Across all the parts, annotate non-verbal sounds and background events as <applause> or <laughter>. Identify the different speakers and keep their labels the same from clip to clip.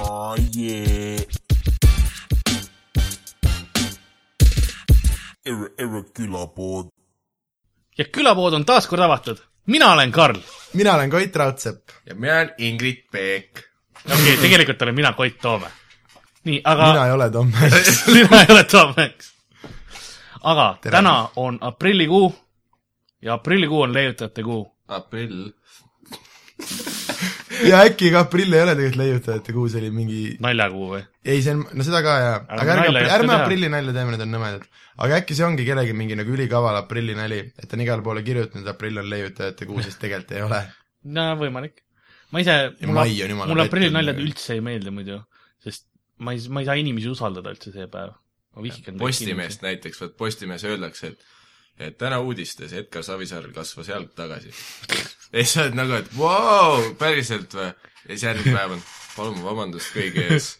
Speaker 1: Oh yeah. Erre, erre külapood .
Speaker 2: ja külapood on taas kord avatud . mina olen Karl .
Speaker 3: mina olen Koit Raudsepp .
Speaker 4: ja mina olen Ingrid Peek .
Speaker 2: okei okay, , tegelikult olen mina Koit Toome . nii , aga <laughs>
Speaker 3: mina ei ole Tom Hanks .
Speaker 2: sina ei ole Tom Hanks . aga Tere.
Speaker 3: Tere.
Speaker 2: täna on aprillikuu ja aprillikuu on leiutajate kuu .
Speaker 4: aprill .
Speaker 3: ja äkki ka aprill ei ole tegelikult leiutajate kuu , see oli mingi ,
Speaker 2: naljakuu või ?
Speaker 3: ei see on , no seda ka jaa ,
Speaker 2: Aga
Speaker 3: aga
Speaker 2: nalja
Speaker 3: ärme
Speaker 2: ei , oska
Speaker 3: ärme
Speaker 2: teha.
Speaker 3: aprillinalja teeme , need on nõmedad . aga äkki see ongi kellegi mingi nagu ülikaval aprillinali , et ta on igale poole kirjutanud , et aprill on leiutajate kuu , siis tegelikult ei ole .
Speaker 2: no võimalik . ma ise ,
Speaker 3: Ja mai on
Speaker 2: mulle
Speaker 3: jumala
Speaker 2: mulle
Speaker 3: pettunud
Speaker 2: aprillinnaljad
Speaker 3: muidugi.
Speaker 2: üldse ei meeldi muidu , sest ma ei , ma ei saa inimesi usaldada üldse see päev . ma vihkan .
Speaker 4: Postimeest . näiteks , vaat Postimehes öeldakse , et et täna uudistes Edgar Savisaar kasvas jalg tagasi . <laughs> ja siis sa oled nagu , et vau , päriselt või ? ja siis järgmine päev on , palun vabandust kõigi ees ,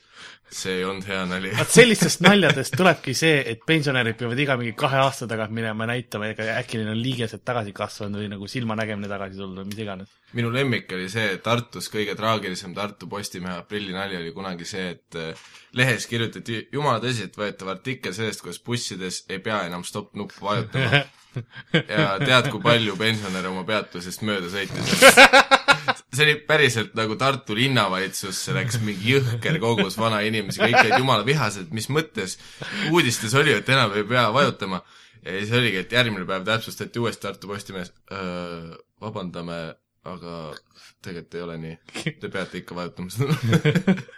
Speaker 4: see ei olnud hea nali . <laughs>
Speaker 2: vaat sellistest naljadest tulebki see , et pensionärid peavad iga mingi kahe aasta tagant minema näitama , ega äkki neil on liigesed tagasi kasvanud või nagu silmanägemine tagasi tulnud või mis iganes .
Speaker 4: minu lemmik oli see Tartus , kõige traagilisem Tartu Postimehe aprillinali oli kunagi see , et eh, lehes kirjutati jumala tõsiseltvõetav artikkel sellest , kuidas bussides ei pea enam stopp-nuppu vajutama . ja tead , kui palju pensionäre oma peatusest mööda sõitis . see oli päriselt nagu Tartu linnavalitsusse läks mingi jõhker kogus vanainimesi , kõik olid jumala vihased , mis mõttes uudistes oli , et enam ei pea vajutama . ja siis oligi , et järgmine päev täpsustati uuesti Tartu Postimehes , vabandame , aga tegelikult ei ole nii , te peate ikka vajutama seda . <laughs>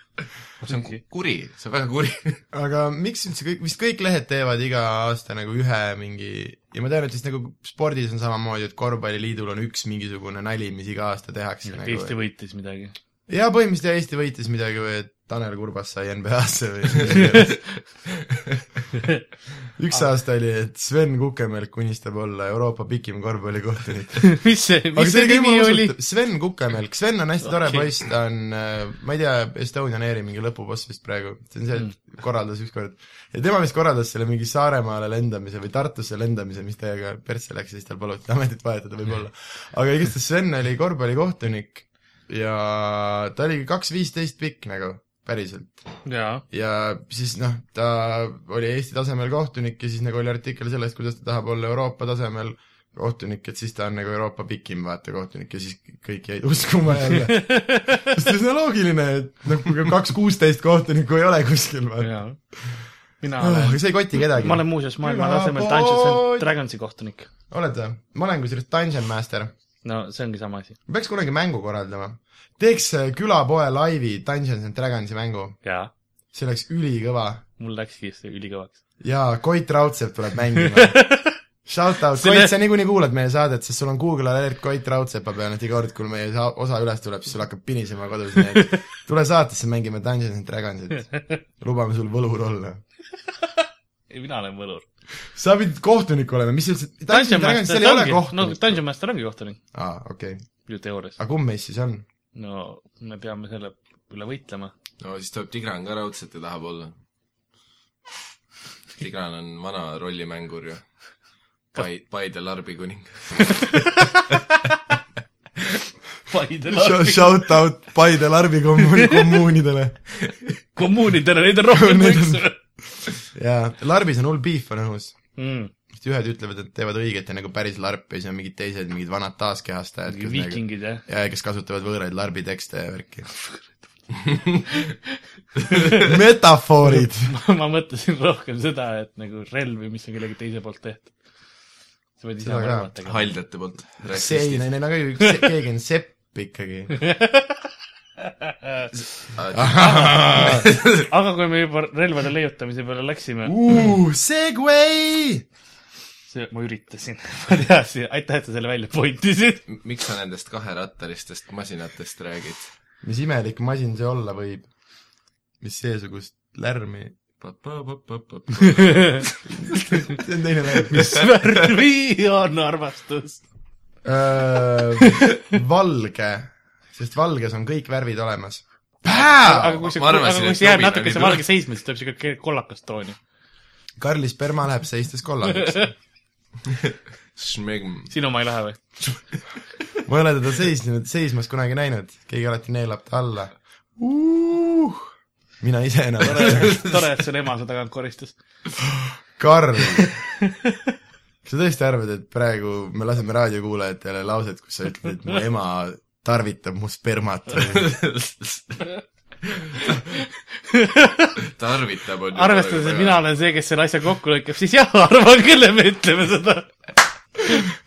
Speaker 4: see on ku- kuri , see on väga kuri .
Speaker 3: aga miks üldse kõik , vist kõik lehed teevad iga aasta nagu ühe mingi ja ma tean , et siis nagu spordis on samamoodi , et korvpalliliidul on üks mingisugune nali , mis iga aasta tehakse
Speaker 2: Eesti
Speaker 3: nagu .
Speaker 2: võitis
Speaker 3: <laughs>
Speaker 2: midagi .
Speaker 3: jaa , põhimõtteliselt Eesti võitis midagi või et Tanel Kurbas sai NBA-sse
Speaker 2: <laughs>
Speaker 3: või midagi sellist. üks
Speaker 2: Ah.
Speaker 3: aasta oli , et Sven Kukemelk unistab olla Euroopa pikim korvpallikohtunik .
Speaker 2: mis see ,
Speaker 3: aga
Speaker 2: mis
Speaker 3: see
Speaker 2: see
Speaker 3: oli ka
Speaker 2: nimi
Speaker 3: jumala
Speaker 2: oli ?
Speaker 3: usutav , Sven Kukemelk , Sven on hästi tore
Speaker 2: Okei.
Speaker 3: poiss , ta on , ma ei tea , Estonian Airi mingi lõpuboss vist praegu , see on see ,
Speaker 2: Hmm.
Speaker 3: et korraldas ükskord ja tema vist korraldas selle mingi Saaremaale lendamise või Tartusse lendamise , mis täiega persse läks ja siis tal paluti ametit vahetada võib-olla .
Speaker 2: Hmm.
Speaker 3: aga igastahes Sven oli korvpallikohtunik ja ta oli kaks viisteist pikk nagu , päriselt .
Speaker 2: jaa .
Speaker 3: ja siis noh , ta oli Eesti tasemel kohtunik ja siis nagu oli artikkel sellest , kuidas ta tahab olla Euroopa tasemel kohtunik , et siis ta on nagu Euroopa pikim vaata kohtunik ja siis kõik jäid <laughs> uskuma jälle . sest see on loogiline , et noh , kaks kuusteist kohtunikku ei ole kuskil vaata .
Speaker 2: jaa . mina
Speaker 3: aga
Speaker 2: olen ,
Speaker 3: see ei koti kedagi
Speaker 2: ma . olen muuseas maailma
Speaker 3: Külapood!
Speaker 2: tasemel Dungeons and Dragonsi kohtunik .
Speaker 3: oled või ? ma olen kusjuures Dungeon Master .
Speaker 2: no see ongi sama asi .
Speaker 3: ma peaks kunagi mängu korraldama . teeks äh, külapoe laivi Dungeons and Dragonsi mängu ,
Speaker 2: jaa ,
Speaker 3: see oleks ülikõva
Speaker 2: mul läkski see ülikõvaks .
Speaker 3: jaa , Koit Raudsepp tuleb
Speaker 2: <laughs>
Speaker 3: mängima . Shout out ,
Speaker 2: Selle-
Speaker 3: Koit , sa niikuinii kuulad meie saadet , sest sul on Google alert Koit Raudsepa peal , et iga kord , kui meie sa- osa üles tuleb , siis sul hakkab pinisema kodus , nii et tule saatesse , mängime Dungeons and
Speaker 2: <laughs>
Speaker 3: Dragonsit . lubame sul võlur olla .
Speaker 2: ei , mina olen võlur .
Speaker 3: sa pidid kohtunik olema , mis üldse , Dungeons and Dragons , seal ei ole
Speaker 2: no
Speaker 3: kohtunik .
Speaker 2: Dungeon Master ongi kohtunik ,
Speaker 3: aa , okei ,
Speaker 2: ju teoorias .
Speaker 3: aga kumb meist siis on ?
Speaker 2: no me peame selle üle
Speaker 4: <laughs>
Speaker 2: võitlema .
Speaker 4: no siis tuleb Tigran ka raudselt ja tahab olla . Tigran on vana rollimängur ju . Pai- , Paide larbikuning .
Speaker 2: Paide
Speaker 3: Shout out Paide larvi
Speaker 2: <laughs>
Speaker 3: kommuuni , kommuunidele .
Speaker 2: kommuunidele , neid on
Speaker 3: <laughs>
Speaker 2: rohkem kui üks
Speaker 3: jaa , larvis on hull piif on õhus
Speaker 2: mm, .
Speaker 3: sest ühed ütlevad , et teevad õiget ja nagu päris larpi ja siis on mingid teised mingid vanad taaskehastajad , kes nagu,
Speaker 2: viikingid jah . <laughs>
Speaker 3: ja kes kasutavad võõraid larbitekste ja värki . <laughs> metafoorid .
Speaker 2: ma mõtlesin rohkem seda , et nagu relvi , mis on kellegi teise poolt tehtud . sa pead ise
Speaker 3: Seda ka.
Speaker 2: valemad tegema .
Speaker 4: haljate poolt .
Speaker 3: sein , neil on ka ju üks , keegi on sepp <laughs> ikkagi .
Speaker 4: Ah,
Speaker 2: aga kui me juba relvade leiutamise peale
Speaker 4: Uh.
Speaker 2: läksime ,
Speaker 3: Segway .
Speaker 2: see , ma üritasin , <laughs> ma teadsin , aitäh , et sa selle välja
Speaker 4: <laughs>
Speaker 2: pointisid .
Speaker 4: miks sa nendest kaherattalistest masinatest räägid ?
Speaker 3: mis imelik masin see olla võib ? mis seesugust lärmi ? see on teine lärm .
Speaker 2: värvi on armastus .
Speaker 3: Äh, valge , sest valges on kõik värvid olemas .
Speaker 2: aga kui see ,
Speaker 4: Ah, ma arvasin,
Speaker 2: aga kui
Speaker 4: et
Speaker 2: see jääb
Speaker 4: Robin
Speaker 2: natuke
Speaker 4: oli
Speaker 2: see
Speaker 4: tule-
Speaker 2: valge seisma , siis tuleb siuke ke- kollakas tooni .
Speaker 3: Karlis Perma läheb seistes kollaseks .
Speaker 2: <laughs>
Speaker 4: Šmegm .
Speaker 2: sinu ma ei lähe või ?
Speaker 3: ma ei ole teda seisnud , seismas kunagi näinud , keegi alati neelab ta alla uh! . mina ise enam .
Speaker 2: tore ,
Speaker 4: <laughs>
Speaker 2: tore , et sul ema su tagant koristas .
Speaker 3: Karl , kas sa tõesti arvad , et praegu me laseme raadiokuulajatele lauset , kus sa ütled , et mu ema tarvitab mu spermat ?
Speaker 4: tarvitab , on ju .
Speaker 2: arvestades , et mina . olen see , kes selle asja kokku lõikab , siis jah , arvan küll , et me ütleme seda .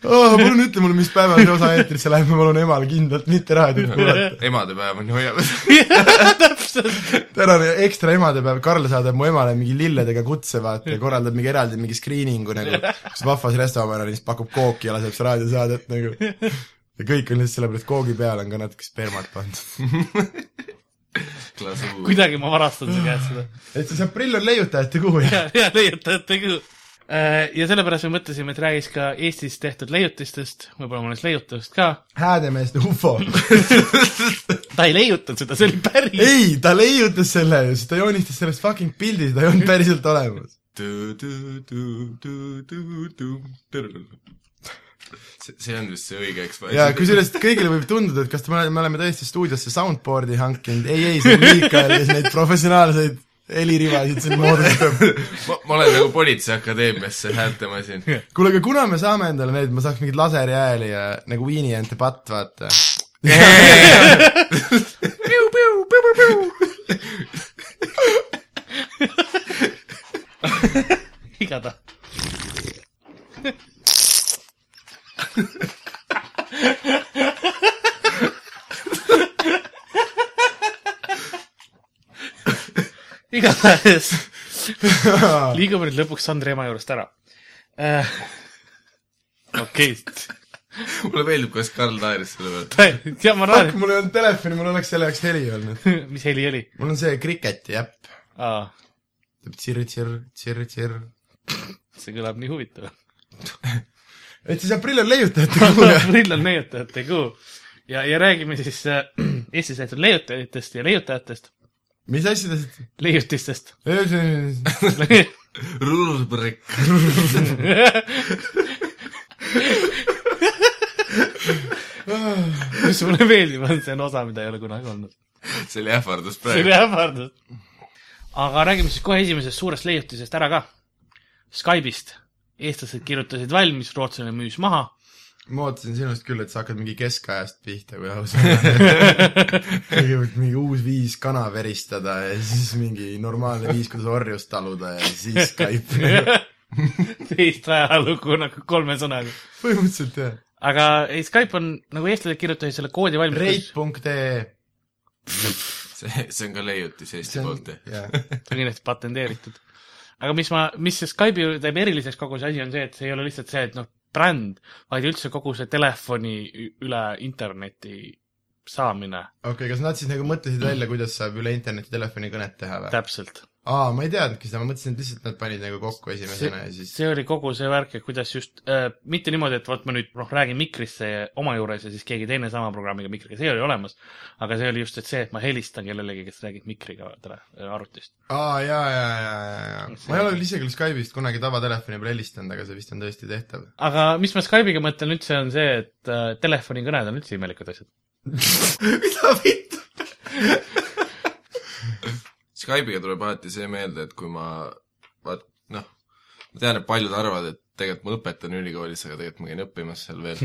Speaker 3: oh, . palun ütle mulle , mis päeval see osa eetrisse läheb , ma palun emal kindlalt mitte raadiot kuulata .
Speaker 4: emadepäev on ju hoiamas .
Speaker 2: <laughs> täpselt .
Speaker 3: tänane ekstra emadepäev , Karl saadab mu emale mingi lilledega kutse , vaata , ja korraldab mingi eraldi mingi screening'u nagu , kus vahvas restoranis pakub kooki ja laseb seda raadiosaadet nagu . ja kõik on lihtsalt sellepärast , koogi peale on ka natuke spermat pandud .
Speaker 4: glasuur .
Speaker 2: kuidagi ma varastan su käest seda .
Speaker 3: et siis aprill on leiutajate kuu ja
Speaker 2: ja , ja leiutajate küll . ja sellepärast me mõtlesime , et räägiks ka Eestis tehtud leiutistest , võib-olla mõnest leiutajast ka .
Speaker 3: Häädemeeste ufo .
Speaker 2: ta ei leiutanud seda , see oli päris .
Speaker 3: ei , ta leiutas selle ju , sest ta joonistas sellest fucking pildi , seda ei olnud päriselt olemas .
Speaker 4: see see on vist see õige , eks .
Speaker 3: ja kusjuures kõigile võib tunduda , et kas te- me oleme- me oleme tõesti stuudiosse soundboard'i hankinud , ei , ei , see on Miikael , kes neid professionaalseid heliribasid siin moodustab .
Speaker 4: ma , ma olen nagu politseiakadeemiasse häältemasin .
Speaker 3: kuule , aga kuna me saame endale need , ma saaks mingeid laserjääli ja nagu Weenie and the Butt , vaata .
Speaker 2: igatahes . igatahes liigume nüüd lõpuks Sandri ema juurest ära . Äh, okei ,
Speaker 4: mulle meeldib , kuidas Karl naeris selle peale .
Speaker 2: ja ma
Speaker 3: fuck ,
Speaker 2: naerin ,
Speaker 3: mul ei olnud telefoni , mul oleks selle jaoks heli olnud .
Speaker 2: mis heli oli
Speaker 3: mul on see Kriketi äpp ,
Speaker 2: ah, ?
Speaker 3: teeb tsirr-tsirr , tsirr-tsirr .
Speaker 2: see kõlab nii huvitav .
Speaker 3: et siis aprill on leiutajate
Speaker 2: <laughs>
Speaker 3: kuu ja
Speaker 2: aprill on leiutajate kuu ja , ja räägime siis äh, Eestis tehtud leiutajatest ja leiutajatest ,
Speaker 3: mis asjadest ?
Speaker 2: leiutistest . <laughs>
Speaker 4: rubriik .
Speaker 2: mis mulle meeldib , on see on osa , mida ei ole kunagi olnud .
Speaker 4: see oli ähvardus
Speaker 2: see
Speaker 4: praegu
Speaker 2: oli . ähvardus . aga räägime siis kohe esimesest suurest leiutisest ära ka . Skype'ist . eestlased kirjutasid valmis , rootslane müüs maha .
Speaker 3: ma ootasin sinust küll , et sa hakkad mingi keskajast pihta , kui aus olla . kõigepealt mingi uus viis kana veristada ja siis mingi normaalne viis , kuidas orjust taluda ja siis
Speaker 2: <laughs>
Speaker 3: Skype .
Speaker 2: teist ajalugu nagu kolme sõnaga .
Speaker 3: põhimõtteliselt jah .
Speaker 2: aga ei , Skype on nagu eestlased kirjutasid selle koodi valmis .
Speaker 3: Reit.ee .
Speaker 4: see , see on ka leiutis Eesti
Speaker 3: see on
Speaker 4: poolt , jah .
Speaker 3: jah .
Speaker 2: see on kindlasti patenteeritud . aga mis ma , mis see Skype'i ju teeb eriliseks kogu see asi on see , et see ei ole lihtsalt see , et noh , bränd , vaid üldse kogu see telefoni ü- üle interneti saamine
Speaker 3: okei , kas nad siis nagu mõtlesid välja , kuidas saab üle interneti telefonikõnet teha või ?
Speaker 2: täpselt .
Speaker 3: aa , ma ei teadnudki seda , ma mõtlesin , et lihtsalt nad panid nagu kokku esimesena ja siis
Speaker 2: see oli kogu see värk , et kuidas just äh, , mitte niimoodi , et vot ma nüüd noh , räägin mikrisse ja- oma juures ja siis keegi teine sama programmiga mikriga , see oli olemas . aga see oli just , et see , et ma helistan kellelegi , kes räägib mikriga tele- , arvutist .
Speaker 3: aa , jaa , jaa , jaa , jaa , jaa . ma ei ole küll ise küll Skype'ist kunagi tavatelefoni peale helistanud , aga see vist on tõesti tehtav .
Speaker 2: aga mis ma Skype'iga mõtlen üldse , on see , et äh, telefonikõned on üldse imelikud asjad .
Speaker 3: mida vittu ?
Speaker 4: Skype'iga tuleb alati see meelde , et kui ma , vaat noh , ma tean , et paljud arvavad , et tegelikult ma õpetan ülikoolis , aga tegelikult ma käin õppimas seal veel .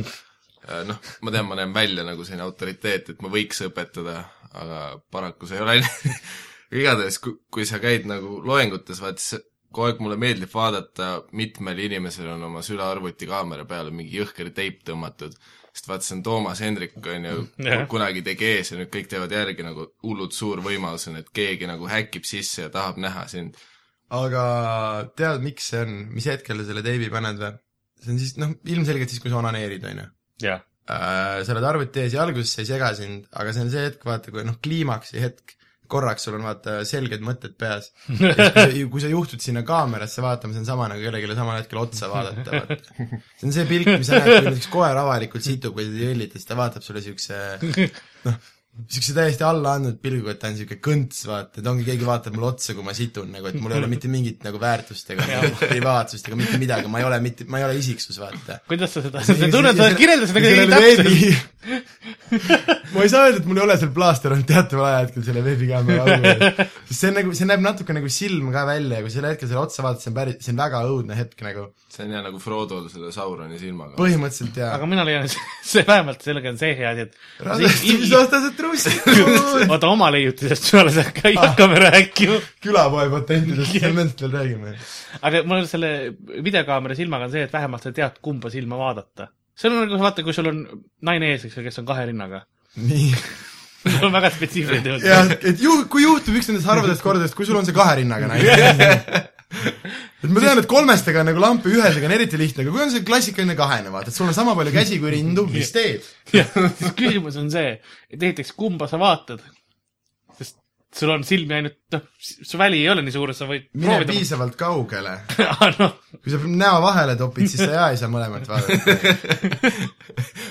Speaker 4: noh , ma tean , ma näen välja nagu selline autoriteet , et ma võiks õpetada , aga paraku see ei ole <laughs> igatahes , kui sa käid nagu loengutes , vaata siis kogu aeg mulle meeldib vaadata , mitmel inimesel on oma sülearvuti kaamera peale mingi jõhker teip tõmmatud , sest vaata , see on Toomas Hendrik , on ju ,
Speaker 2: Jah.
Speaker 4: kunagi tegi ees ja nüüd kõik teevad järgi nagu hullult suur võimalus on , et keegi nagu häkib sisse ja tahab näha sind .
Speaker 3: aga tead , miks see on , mis hetkel sa selle teibi paned või ? see on siis noh , ilmselgelt siis , kui sa onaneerid , on ju .
Speaker 2: jah ,
Speaker 3: Äh, sa oled arvuti ees ja alguses see ei sega sind , aga see on see hetk , vaata , kui noh , kliimaksi hetk , korraks sul on vaata selged mõtted peas . kui sa juhtud sinna kaamerasse vaatama , see on sama nagu kellelegi samal hetkel otsa vaadata , vaata . see on see pilt , mis sa näed , kui näiteks koer avalikult situb või teda jõllitad , siis ta vaatab sulle siukse noh , siukse täiesti alla andnud pilguga , et ta on siuke kõnts , vaata , et ongi , keegi vaatab mulle otsa , kui ma situn nagu , et mul ei ole mitte mingit nagu väärtust ega nagu privaatsust ega mitte midagi , ma ei ole mitte , ma ei ole isiksus , vaata
Speaker 2: kuidas sa seda , sa tunned , sa kirjelda seda
Speaker 3: kuidagi
Speaker 2: kuidagi täpselt .
Speaker 3: täpselt . <laughs> ma ei saa öelda , et mul ei ole seal plaaster olnud teataval ajahetkel selle veebikaamera augu ees . sest see on nagu , see näeb natuke nagu silm ka välja ja kui sel hetkel selle otsa vaadata , see on päris , see on väga õudne hetk nagu .
Speaker 4: see on jah nagu Frodol selle Sauroni silmaga .
Speaker 3: põhimõtteliselt jaa
Speaker 2: aga . mina leian , see vähemalt sellega on see hea asi , et
Speaker 3: rasedusvastased trussid ,
Speaker 2: <laughs> oota , oma leiutisest peale sa ka ei hakkame rääkima .
Speaker 3: <laughs> külapoe patentidest , nendest veel räägime .
Speaker 2: aga mul on selle videokaamera silmaga on see , et vähemalt sa tead , kumba silma vaadata . see on nagu , vaata , kui sul on naine ees , eks ju , kes on kahe rinnaga .
Speaker 3: nii ,
Speaker 2: see on väga spetsiifiline
Speaker 3: jah
Speaker 2: teema .,
Speaker 3: et ju- , kui juhtub üks nendest harvadest kordadest , kui sul on see kahe rinnaga naine , et ma tean , et kolmestega on nagu lampi ühesega on eriti lihtne , aga kui on see klassikaline kahene , vaata , et sul on sama palju käsi kui rindu , mis teed ?
Speaker 2: siis küsimus on see , et esiteks , kumba sa vaatad . sest sul on silmi ainult , noh , su väli ei ole nii suur , et sa võid
Speaker 3: mine
Speaker 2: proovida . <laughs>
Speaker 3: piisavalt kaugele .
Speaker 2: noh ,
Speaker 3: kui sa näo vahele topid , siis sa jaa ei saa mõlemat vaadata .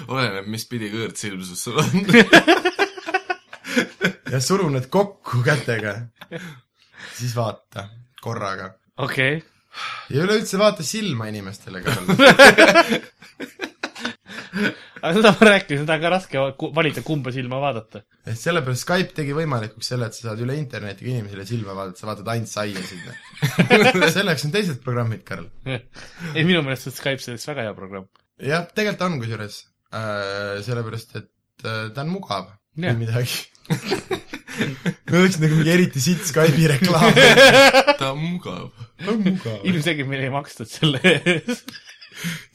Speaker 4: oleneb , mis pidi kõõrdsilmsus sul on . <laughs>
Speaker 3: ja suru need kokku kätega . siis vaata korraga .
Speaker 2: okei okay. .
Speaker 3: ja üleüldse vaata silma inimestele ka .
Speaker 2: aga seda ma rääkisin , seda on ka raske va- ku- valida , kumba silma vaadata . <laughs>
Speaker 3: et sellepärast Skype tegi võimalikuks selle , et sa saad üle internetiga inimesele silma vaadata , sa vaatad ainult saia sinna . selleks on teised programmid , Karl .
Speaker 2: ei , minu meelest on Skype selleks väga hea programm .
Speaker 3: jah , tegelikult on kusjuures äh, , sellepärast et äh, ta on mugav
Speaker 2: Jah.
Speaker 3: või midagi . <laughs> me oleks nagu mingi eriti sitt Skype'i reklaam .
Speaker 4: ta on mugav .
Speaker 3: ta on mugav .
Speaker 2: ilmselgelt meil ei makstud selle eest .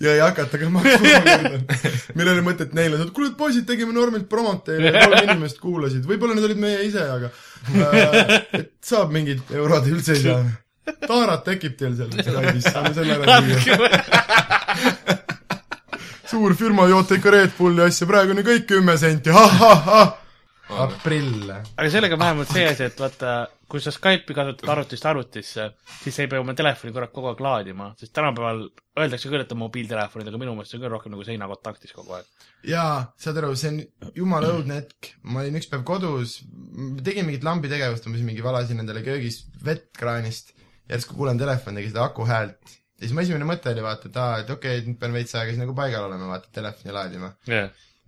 Speaker 3: ja ei hakata ka maksma . meil oli mõtet neile , et kuule , poisid , tegime Normit promot teile , kolm inimest kuulasid , võib-olla need olid meie ise , aga äh, et saab mingid eurod ja üldse ei saa . taarat tekib teil seal Skype'is , saame selle ära lüüa . suur firma JTK Red Bulli asja , praegu on ju kõik kümme senti , ahahah . aprill .
Speaker 2: aga sellega on vähemalt see asi , et vaata , kui sa Skype'i kasutad arvutist arvutisse , siis sa ei pea oma telefoni korraga kogu aeg laadima , sest tänapäeval öeldakse küll , et on mobiiltelefonid , aga minu meelest see on küll rohkem nagu seinakontaktis kogu aeg .
Speaker 3: jaa , saad aru , see on jumala õudne hetk , ma olin ükspäev kodus , tegin mingit lambitegevust , ma siis mingi valasin endale köögis vett kraanist , järsku kuulen telefoni , tegi seda aku häält ja siis mu esimene mõte oli vaata , et aa , et okei okay, , nüüd pean veits aega siis nagu paigal olema , vaata telefoni laadima .
Speaker 2: <laughs>
Speaker 3: ja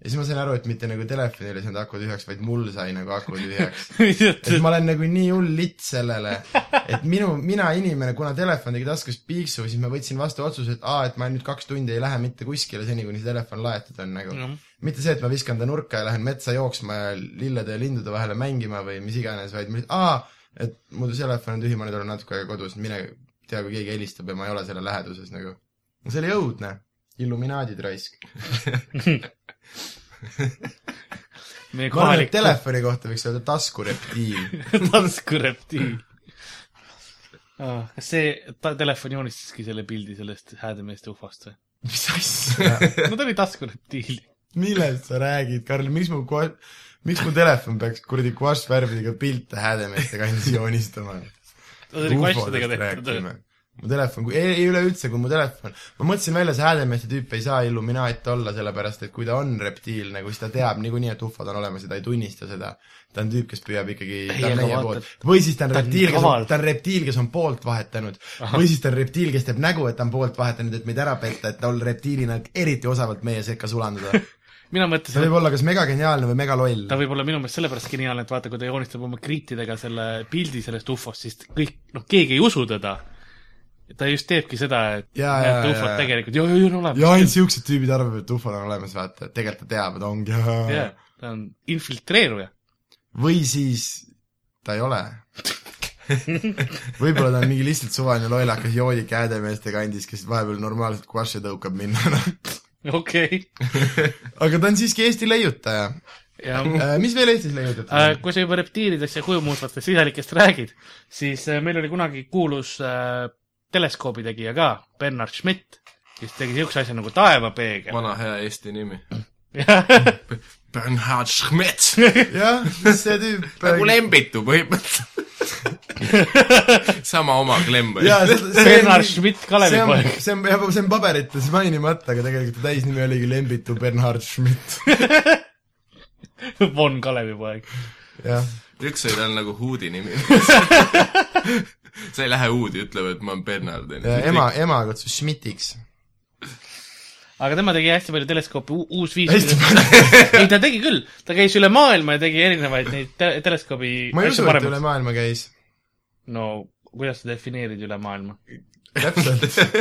Speaker 3: siis ma sain aru , et mitte nagu telefonil ei saanud aku tühjaks , vaid mul sai nagu aku tühjaks . et ma olen nagu nii hull litt sellele , et minu , mina inimene , kuna telefon tegi taskus piiksu , siis ma võtsin vastu otsuse , et aa , et ma nüüd kaks tundi ei lähe mitte kuskile seni , kuni see telefon laetud on nagu
Speaker 2: Jah.
Speaker 3: no. . mitte see , et ma viskan ta nurka ja lähen metsa jooksma ja lillede ja lindude vahele mängima või mis iganes , vaid ma lihtsalt aa , et mu telefon on tühi , ma nüüd olen natuke aega kodus , mine tea , kui keegi helistab ja ma ei ole selle läheduses nagu . see oli õudne , illuminaadid raisk .
Speaker 2: meie
Speaker 3: ma arvan ,
Speaker 2: kohalik
Speaker 3: et telefoni kohta võiks öelda taskureptiil
Speaker 2: <laughs> taskureptiil . Ah, kas see ta telefon joonistaski selle pildi sellest häädemeeste ufost <laughs> või ?
Speaker 3: <laughs> mis asja ?
Speaker 2: no ta oli taskureptiil .
Speaker 3: millest sa räägid , Karl , miks mu ko- , miks mu telefon peaks kuradi kvašvärvidega pilte hääldemeeste kandis joonistama ?
Speaker 2: ta oli kastidega tehtud .
Speaker 3: mu telefon , ei, ei üleüldse , kui mu telefon , ma mõtlesin välja , see häädemeeste tüüp ei saa Illuminaat olla , sellepärast et kui ta on reptiilne , kui siis ta teab niikuinii , et ufod on olemas ja ta ei tunnista seda . ta on tüüp , kes püüab ikkagi , ta
Speaker 2: aga
Speaker 3: on meie
Speaker 2: vaata,
Speaker 3: poolt
Speaker 2: et- .
Speaker 3: või siis ta on
Speaker 2: ta on
Speaker 3: reptiil , kes
Speaker 2: kaval.
Speaker 3: on , ta on reptiil , kes on poolt vahetanud . või siis ta on reptiil , kes teeb nägu , et ta on poolt vahetanud , et meid ära petta , et tal reptiilina eriti osavalt meie sekka sulanduda
Speaker 2: mina
Speaker 3: ta
Speaker 2: mõtlesin ,
Speaker 3: võib olla kas megageniaalne või megaloll
Speaker 2: ta . võib olla minu meelest sellepärast geniaalne , et vaata , kui ta joonistab oma kriitidega selle pildi sellest ufost , siis kõik , noh , keegi ei usu teda . ta just teebki seda , et
Speaker 3: Jaa,
Speaker 2: näed,
Speaker 3: jaa,
Speaker 2: ta
Speaker 3: jaa,
Speaker 2: ufot
Speaker 3: jaa.
Speaker 2: tegelikult , joo , joo , joo , on
Speaker 3: ja ainult
Speaker 2: olemas .
Speaker 3: siuksed tüübid arvavad , et ufod on olemas , vaata , tegelikult ta teab , et ongi yeah. .
Speaker 2: jah , ta on infiltreeruja . <laughs>
Speaker 3: või siis ta ei ole . võib-olla ta on mingi lihtsalt suvaline lollakas joodik häädemeeste kandis , kes vahepeal normaalselt kvaši tõukab minna .
Speaker 2: okei ,
Speaker 3: aga ta on siiski Eesti leiutaja . <laughs>
Speaker 2: ja
Speaker 3: mis veel Eestis
Speaker 2: Äh,
Speaker 3: leiutatakse ?
Speaker 2: kui sa juba reptiilidest ja kuju muutvatest siselikest räägid , siis äh, meil oli kunagi kuulus äh, teleskoobi tegija ka , Bernard Schmidt , kes tegi niisuguse asja nagu <laughs> taevapeegel .
Speaker 4: vana hea eesti nimi .
Speaker 2: jah ,
Speaker 4: <laughs> Bernhard Schmidt .
Speaker 3: jah , see tüüp . äh,
Speaker 4: nagu Lembitu põhimõtteliselt . sama oma klemba .
Speaker 2: <laughs>
Speaker 3: jaa , see , see
Speaker 2: Bernard Schmidt,
Speaker 3: see on
Speaker 2: Kalevipoeg. ,
Speaker 3: see on , see on paberites mainimata , aga tegelikult ta täisnimi oligi Lembitu Bernhard Schmidt ,
Speaker 2: <laughs> Von Kalevipoeg .
Speaker 3: jah .
Speaker 4: üks oli tal nagu Hoodi nimi . sa ei lähe Hoodi ütlema , et ma olen Bernhard .
Speaker 3: ema , ema kutsus Schmidtiks .
Speaker 2: aga tema tegi hästi palju teleskoope , uus viis . <laughs>
Speaker 3: hästi
Speaker 2: ei ,
Speaker 3: palju .
Speaker 2: ta tegi küll , ta käis üle maailma ja tegi erinevaid neid te teleskoobi
Speaker 3: ma ei
Speaker 2: asju
Speaker 3: usu , et ta
Speaker 2: paremaks
Speaker 3: üle . maailma käis .
Speaker 2: no kuidas sa defineerid üle maailma ?
Speaker 3: täpselt .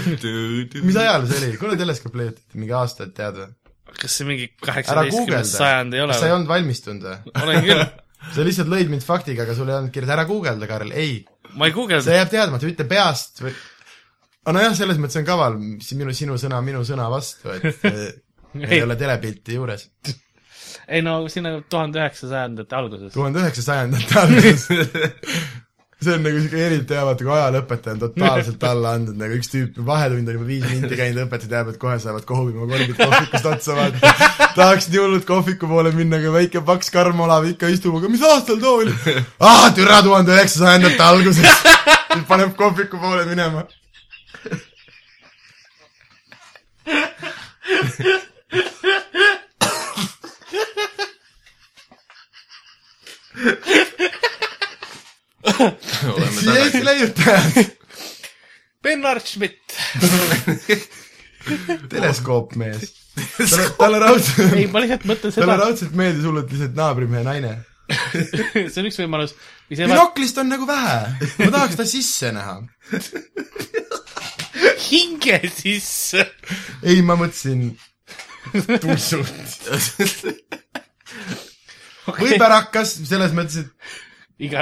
Speaker 4: <laughs>
Speaker 3: mis ajal see oli ? kuna teleskoop leiutati , mingi aastaid tead või ?
Speaker 2: kas see mingi
Speaker 3: ära
Speaker 2: kaheksateistkümnes
Speaker 3: guugelda .
Speaker 2: sajand ei ole
Speaker 3: kas sa ei olnud valmistunud või ?
Speaker 2: olen küll ,
Speaker 3: sa lihtsalt lõid mind faktiga , aga sul ei olnud kirja , ära guugelda , Karl , ei .
Speaker 2: ma ei guugelda
Speaker 3: see , jääb teadmata , ütle peast või aga nojah , selles mõttes on kaval , minu , sinu sõna minu sõna vastu ,
Speaker 2: <laughs>
Speaker 3: et eh, ei
Speaker 2: Ei.
Speaker 3: ole telepilti juures .
Speaker 2: ei no sinna tuhande üheksasajandate alguses .
Speaker 3: tuhande üheksasajandate alguses . <laughs> see on nagu siuke eriti hea , vaata kui ajalooõpetaja on totaalselt alla andnud , nagu üks tüüp , vahetund on juba viis mindi käinud , õpetaja teab , et kohe saavad kohvima kolmid kohvikust otsa vaata . tahaks nii hullult kohviku poole minna , aga väike paks karm olav ikka istub , aga mis aastal too oli ? aa , türa tuhande üheksasajandate alguses . paneb kohviku poole minema .
Speaker 4: oleme
Speaker 3: siis Eesti
Speaker 4: tagasi .
Speaker 3: leiutajad .
Speaker 2: Bernard Schmidt ,
Speaker 3: teleskoopmees . talle , talle raudselt ,
Speaker 2: ei ma lihtsalt mõtlen
Speaker 3: talle
Speaker 2: seda ,
Speaker 3: raudselt meeldis hullult lihtsalt naabrimehe naine
Speaker 2: <laughs> see on üks võimalus , mis jääb
Speaker 3: binoklist on nagu vähe , ma tahaks ta sisse näha .
Speaker 2: hinge sisse .
Speaker 3: ei , ma mõtlesin tussult . või pärakas , selles mõttes , et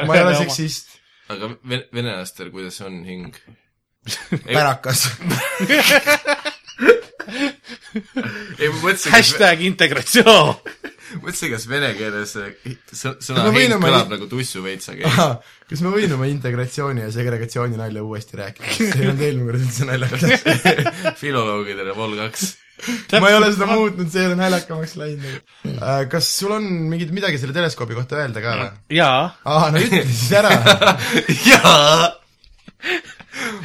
Speaker 3: ma
Speaker 2: <laughs>
Speaker 3: ei ole seksist ,
Speaker 4: aga ve- , venelastel , kuidas on hing ?
Speaker 3: pärakas . <laughs>
Speaker 4: ei , ma mõtlesin ,
Speaker 2: hashtag integratsioon .
Speaker 4: mõtlesin , kas vene keeles see sõ-
Speaker 3: Kas
Speaker 4: sõna
Speaker 3: ma võin
Speaker 4: hing
Speaker 3: oma-
Speaker 4: kõlab nagu tussu veits ,
Speaker 3: <laughs>
Speaker 4: aga ei.
Speaker 3: kas ma võin oma integratsiooni ja segregatsiooni nalja uuesti rääkida , see ei olnud eelmine kord üldse <laughs> naljakas .
Speaker 4: filoloogidele vol kaks . <laughs>
Speaker 3: ma ei ole seda muutnud , see ei ole naljakamaks läinud . kas sul on mingit , midagi selle teleskoobi kohta öelda ka või ?
Speaker 2: jaa ,
Speaker 3: aa , no ütle siis ära . <laughs>
Speaker 4: jaa .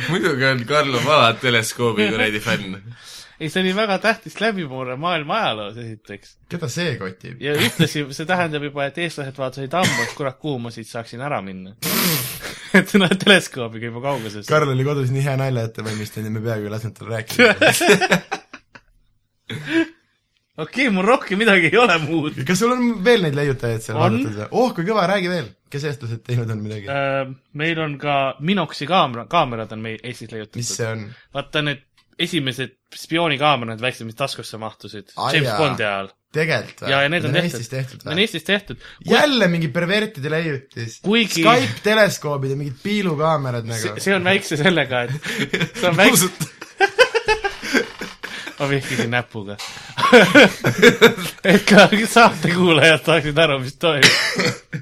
Speaker 4: muidugi on Karl on vana teleskoobi kuradi fänn .
Speaker 2: ei see oli väga tähtis läbimurre maailma ajaloos esiteks .
Speaker 3: keda see kotib ?
Speaker 2: ja ühtlasi see tähendab juba , et eestlased vaatasid ammu , et kurat , kuhu ma siit saaksin ära minna . <laughs> et nad teleskoobiga juba kauguses .
Speaker 3: Karl oli kodus nii hea nalja ette valmistanud ja me peaaegu ei lasknud tal rääkida .
Speaker 2: <laughs> okei , mul rohkem midagi ei ole muud .
Speaker 3: kas sul on veel neid leiutajaid seal
Speaker 2: On.
Speaker 3: vaadatud või ? oh , kui kõva , räägi veel , kes eestlased teinud on midagi ,
Speaker 2: Äh, meil on ka Minoxi kaamera , kaamerad on meil Eestis
Speaker 3: mis
Speaker 2: leiutatud .
Speaker 3: see on ?
Speaker 2: vaata need esimesed spioonikaamera , need väiksed , mis taskusse mahtusid
Speaker 3: Aa,
Speaker 2: James
Speaker 3: jaa.
Speaker 2: Bondi ajal .
Speaker 3: tegelikult
Speaker 2: ja , ja need on
Speaker 3: Eestis
Speaker 2: tehtud .
Speaker 3: tehtud
Speaker 2: Need on
Speaker 3: või ?
Speaker 2: Eestis tehtud .
Speaker 3: jälle mingi pervertide leiutis
Speaker 2: Kuigi-
Speaker 3: Skype teleskoobid ja mingid piilukaamerad nagu
Speaker 2: see , see on väikse sellega , et see on väikse , ma vihkisin näpuga . et ka saatekuulajad saaksid aru , mis toimub .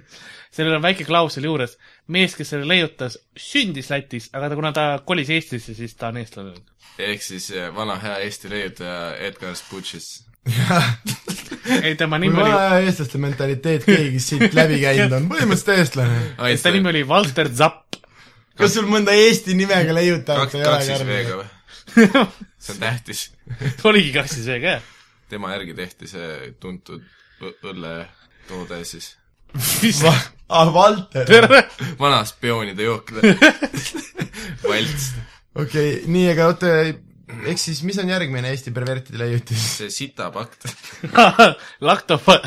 Speaker 2: sellel on väike klausel juures , mees , kes selle leiutas , sündis Lätis , aga ta , kuna ta kolis Eestisse , siis ta on eestlane .
Speaker 4: ehk siis eh, vana hea Eesti leiutaja Edgar Sputšis .
Speaker 2: <laughs> ei , tema
Speaker 3: kui
Speaker 2: nimi oli ,
Speaker 3: vana aja eestlaste mentaliteet keegi siit läbi käinud on , põhimõtteliselt eestlane .
Speaker 2: ta nimi oli Walter Zapp .
Speaker 3: kas sul mõnda eesti nimega leiutajat
Speaker 4: kaks ,
Speaker 3: ei
Speaker 4: kaks siis
Speaker 3: ole ?
Speaker 4: V-ga või ? see on tähtis .
Speaker 2: oligi kaks siis veega , jah .
Speaker 4: tema järgi tehti see tuntud õ- õlletoode siis .
Speaker 2: mis
Speaker 3: ah , Valter .
Speaker 2: terve ,
Speaker 4: vana spioonide jookide valts .
Speaker 3: okei , nii , aga oota , eks siis , mis on järgmine Eesti pervertide leiutis ?
Speaker 4: see sitapakt .
Speaker 2: laktopa- ,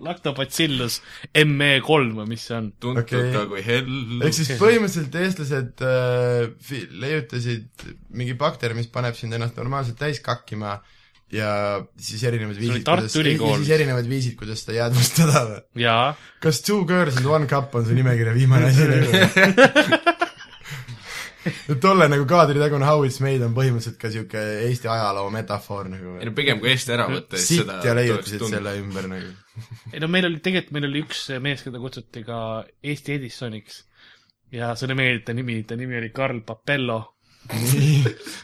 Speaker 2: laktopatsillus ME E kolm või mis see on ?
Speaker 4: tuntud
Speaker 3: Okei.
Speaker 4: okay. ka kui hell .
Speaker 3: ehk siis põhimõtteliselt eestlased äh, fi- leiutasid mingi bakteri , mis paneb sind ennast normaalselt täis kakkima ja siis erinevad
Speaker 2: oli
Speaker 3: viisid ,
Speaker 2: Tartu
Speaker 3: kuidas , ja
Speaker 2: Ülikool.
Speaker 3: siis erinevad viisid , kuidas seda jäädvustada või ?
Speaker 2: jaa
Speaker 3: kas Two Girls and One Cup on su nimekirja viimane asi nagu ?
Speaker 2: <laughs>
Speaker 3: tolle nagu kaadritagune How It's Made on põhimõtteliselt ka siuke Eesti ajaloo metafoor nagu
Speaker 4: ei . no pigem kui Eesti ära võtta , siis
Speaker 3: sitt
Speaker 4: seda
Speaker 3: ja leiutasid .
Speaker 4: <laughs>
Speaker 3: selle ümber nagu . <laughs>
Speaker 2: ei no meil oli , tegelikult meil oli üks mees , keda kutsuti ka Eesti Edisoniks ja see oli meil , ta nimi , ta nimi oli Karl Papello .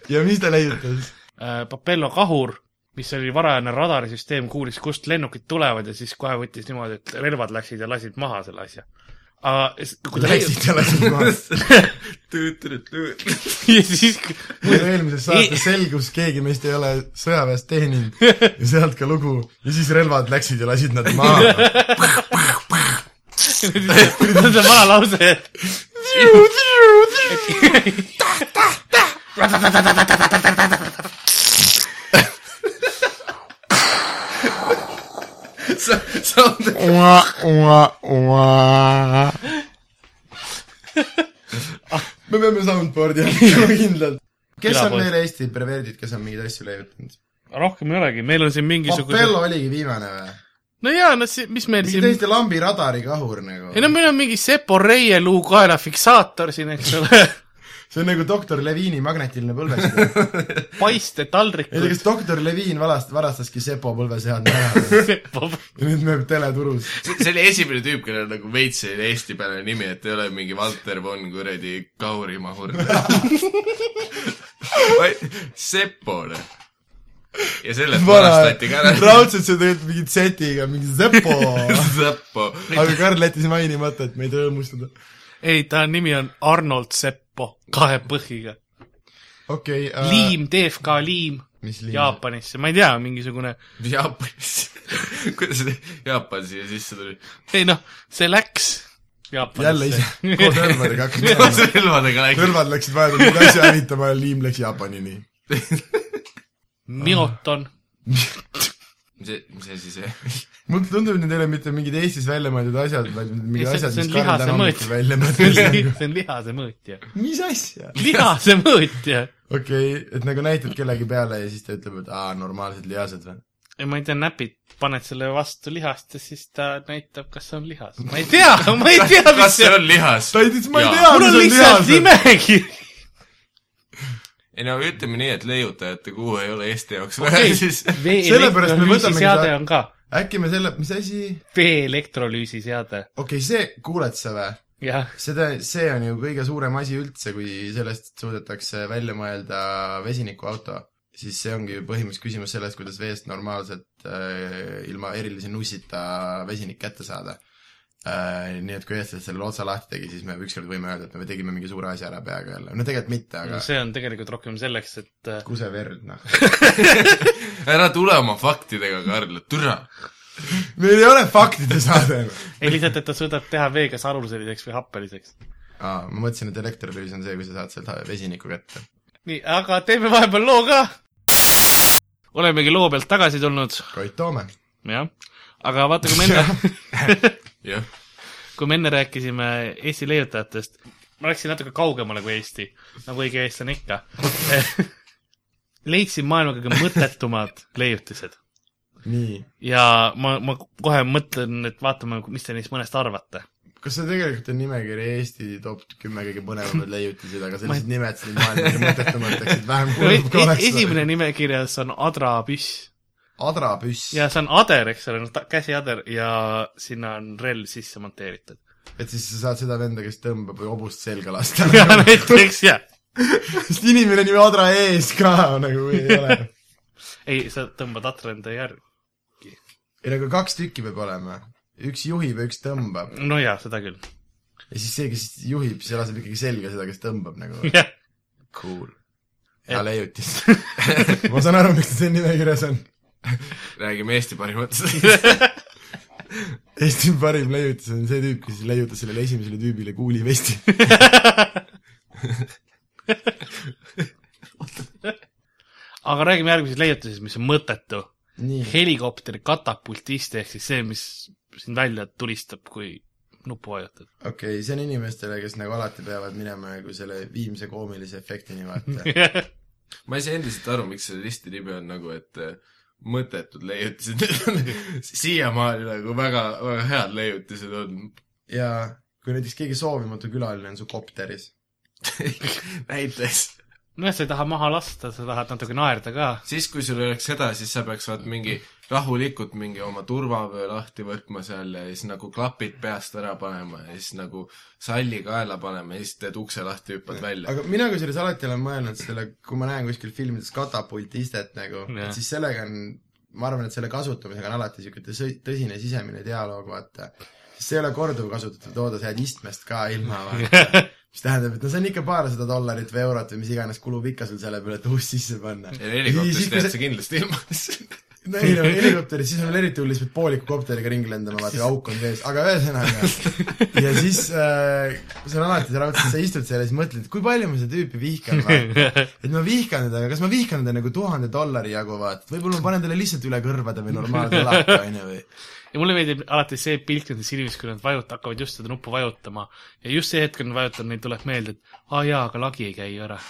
Speaker 3: ja mis ta leiutas ?
Speaker 2: Äh, Papello kahur , mis oli varajane radarisüsteem , kuulis , kust lennukid tulevad ja siis kohe võttis niimoodi , et relvad läksid ja lasid maha selle asja . aga s- kui ta leiutas <laughs>
Speaker 3: läksid ja läksid maha .
Speaker 2: ja siis ,
Speaker 3: meil eelmises saates selgus , keegi meist ei ole sõjaväes teeninud ja sealt ka lugu ja siis relvad läksid ja lasid nad maha .
Speaker 2: <laughs> see on see vana lause , et
Speaker 4: andeks .
Speaker 3: me peame soundboard'i andma kindlalt . kes on
Speaker 2: Külapood.
Speaker 3: veel Eesti perverdid , kes on mingeid asju leiutanud ?
Speaker 2: rohkem ei olegi , meil on siin mingisugused
Speaker 3: Papello oligi viimane või ?
Speaker 2: no jaa , no see , mis meil
Speaker 3: mingi
Speaker 2: siin
Speaker 3: täiesti lambi radari kahur nagu
Speaker 2: ei . no meil on mingi Sepo reieluu kaela fiksaator siin , eks ole ,
Speaker 3: see on nagu doktor Levini magnetiline põlvestaja .
Speaker 2: <laughs>
Speaker 3: ei tea ,
Speaker 2: paistetaldrikud <laughs>
Speaker 3: kas , doktor Levin valast- , varastaski Sepo põlveseadme ära
Speaker 2: Sepo ,
Speaker 3: ja nüüd müüb teleturus .
Speaker 4: see see oli esimene tüüp , kellel nagu veits oli eestipärane nimi , et ei ole mingi Valter von kuradi Kaurimahur .
Speaker 3: <laughs>
Speaker 4: Sepole . ja selle varastati
Speaker 3: <laughs>
Speaker 4: ka ära .
Speaker 3: raudselt see tegelikult mingi Z-iga , mingi Sepo .
Speaker 2: <laughs>
Speaker 4: Sepo .
Speaker 3: aga Karl jättis mainimata , et meid rõõmustada .
Speaker 2: ei ta nimi on Arnold Sepo , kahe põhiga ,
Speaker 3: okei .
Speaker 2: liim , TFK liim
Speaker 3: mis liim ?
Speaker 2: Jaapanisse , ma ei tea , mingisugune ,
Speaker 4: Jaapanis . <laughs> kuidas see Jaapan siia
Speaker 3: <laughs>
Speaker 4: sisse tuli ?
Speaker 2: ei noh , see läks
Speaker 3: jälle ise
Speaker 2: Jaapanisse .,
Speaker 3: koos relvadega hakkas
Speaker 4: kuidas
Speaker 3: minema .
Speaker 4: see relvadega läks ?
Speaker 3: relvad läksid vahepeal mingi asja hävitama ja liim läks Jaapanini .
Speaker 2: <laughs> Mioton ,
Speaker 4: mis see , mis asi see ?
Speaker 3: mulle tundub , et need ei ole mitte mingid Eestis välja mõeldud asjad , vaid mingid
Speaker 2: see
Speaker 3: asjad ,
Speaker 2: see on
Speaker 3: mis Karl
Speaker 2: lihase
Speaker 3: täna hommikul välja
Speaker 2: <laughs>
Speaker 3: mõtles .
Speaker 2: mõõtja , see on lihase mõõtja ,
Speaker 3: mis asja ?
Speaker 2: lihase mõõtja .
Speaker 3: okei okay, , et nagu näitad kellegi peale ja siis ta ütleb , et aa , normaalsed lihased või ?
Speaker 2: ei ma ei tea , näpid paned selle vastu lihast ja siis ta näitab , kas see on lihas . ma ei tea , ma ei tea , mis
Speaker 4: kas
Speaker 2: see
Speaker 4: see
Speaker 2: on .
Speaker 4: on lihas ?
Speaker 3: ta ütles , ma ei
Speaker 4: Jaa.
Speaker 3: tea ,
Speaker 2: mul
Speaker 3: mis
Speaker 2: on
Speaker 3: on
Speaker 2: lihtsalt
Speaker 3: lihased .
Speaker 2: nimekiri .
Speaker 4: ei no ütleme nii , et leiutajate kuu ei ole Eesti jaoks vähe okay. , <laughs> siis
Speaker 3: Sellepärast me võtamegi
Speaker 2: veeelektrolüüsiseade
Speaker 3: seda-
Speaker 2: on ka ,
Speaker 3: äkki me selle , mis asi ?
Speaker 2: veeelektrolüüsiseade ,
Speaker 3: okei okay, , see , kuuled sa või ?
Speaker 2: jah .
Speaker 3: seda , see on ju kõige suurem asi üldse , kui sellest suudetakse välja mõelda vesinikuauto , siis see ongi ju põhimõtteliselt küsimus sellest , kuidas veest normaalselt äh, ilma erilise nussita vesinik kätte saada äh, . nii et kui eestlased selle otsa lahti tegi , siis me ükskord võime öelda , et me tegime mingi suure asja ära peaga jälle , no tegelikult mitte , aga
Speaker 2: see on tegelikult rohkem selleks , et äh,
Speaker 3: kuseverd , noh . <laughs>
Speaker 4: ära tule oma faktidega , Karl , türa .
Speaker 3: meil ei ole faktide saade . noh.
Speaker 2: ei lihtsalt , et ta suudab teha vee kas aluseliseks või happeliseks .
Speaker 3: aa , ma mõtlesin , et elektrilüüs on see , kui sa saad sealt vesiniku kätte .
Speaker 2: nii , aga teeme vahepeal loo ka . olemegi loo pealt tagasi tulnud ,
Speaker 3: Koit Toome .
Speaker 2: jah . aga vaata , kui me <laughs> enne ,
Speaker 4: jah ,
Speaker 2: kui me enne rääkisime Eesti leiutajatest , ma läksin natuke kaugemale kui Eesti , nagu õige eestlane ikka . <laughs> leidsin maailma kõige mõttetumad leiutised
Speaker 3: nii .
Speaker 2: ja ma , ma kohe mõtlen , et vaatame , mis te neist mõnest arvate .
Speaker 3: kas see tegelikult on nimekiri Eesti top kümme kõige
Speaker 2: <laughs>
Speaker 3: põnevamad leiutised , aga sellised nimed siin maailmas mõttetumad läksid vähem kurb kui oleks .
Speaker 2: E-, esimene nimekirjas on Adra püss
Speaker 3: adrapüss
Speaker 2: ja , see on ader , eks ole , noh , käsiader ja sinna on relv sisse monteeritud . <laughs>
Speaker 3: et siis sa saad seda venda , kes tõmbab või hobust selga lasta .
Speaker 2: ja näiteks <laughs> jah ,
Speaker 3: <laughs> sest inimene nimi Adra ees ka nagu ei ole .
Speaker 2: ei , sa tõmbad atra enda järgi .
Speaker 3: ei no aga kaks tükki peab olema . üks juhib ja üks tõmbab .
Speaker 2: no jaa , seda küll ,
Speaker 3: ja siis see , kes juhib , see laseb ikkagi selga seda , kes tõmbab nagu .
Speaker 2: jah . <laughs>
Speaker 3: Cool . hea leiutis . <laughs> ma saan aru , miks ta siin nimekirjas on .
Speaker 4: räägime Eesti
Speaker 3: <laughs>
Speaker 4: parimatest .
Speaker 3: Eesti parim leiutis on see tüüp , kes leiutas sellele esimesele tüübile kuulivesti .
Speaker 2: aga räägime järgmisest leiutisest , mis on mõttetu .
Speaker 3: nii .
Speaker 2: helikopteri katapultist ehk siis see , mis sind välja tulistab , kui nuppu vajutad .
Speaker 3: okei okay, , see on inimestele , kes nagu alati peavad minema nagu selle viimse koomilise efektini , <laughs> vaata .
Speaker 4: ma ei saa endiselt aru , miks selle listi nimi on nagu , et eh, mõttetud leiutised <laughs> siiamaani nagu väga , väga head leiutised on . <laughs>
Speaker 3: ja kui näiteks keegi soovimatu külaline on su kopteris ,
Speaker 4: näiteks
Speaker 2: <laughs> nojah , sa ei taha maha lasta , sa tahad natuke naerda <laughs> ka .
Speaker 4: siis , kui sul oleks seda , siis sa peaks vaat mingi rahulikult mingi oma turvavöö lahti võtma seal ja siis nagu klapid peast ära panema ja siis nagu salli kaela panema ja siis teed ukse lahti , hüppad välja .
Speaker 3: aga mina kusjuures alati olen mõelnud selle , kui ma näen kuskil filmides katapultistet nagu ,
Speaker 2: Jah.
Speaker 3: et siis sellega on , ma arvan , et selle kasutamisega on alati niisugune tõsi- tõsine sisemine dialoog , vaata . sest see ei ole korduvkasutatav toode , sa jääd istmest ka ilma , vaata . mis tähendab , et no see on ikka paarsada dollarit või eurot või mis iganes kulub ikka sul selle peale , et uus sisse panna .
Speaker 4: ja helikopterist jääd sa kindlasti ilma . <laughs>
Speaker 3: no ei no helikopteris , siis on veel eriti hull , siis pead pooliku kopteriga ringi lendama , vaata kui auk on sees , aga ühesõnaga . ja siis äh, see on alati see raudselt , sa istud seal ja siis mõtled , kui palju ma seda tüüpi vihkan , vaata . et ma vihkan teda , aga kas ma vihkan teda nagu tuhande dollari jagu , vaata , võib-olla ma panen talle lihtsalt üle kõrvade või normaalse
Speaker 2: <laughs>
Speaker 3: laka , onju , või
Speaker 2: ja mulle meeldib alati see pilt nendes inimestes , kui nad vajuta- , hakkavad just seda nuppu vajutama ja just see hetk , kui nad vajutavad , neil tuleb meelde , et aa jaa , aga lagi ei käi ju ära .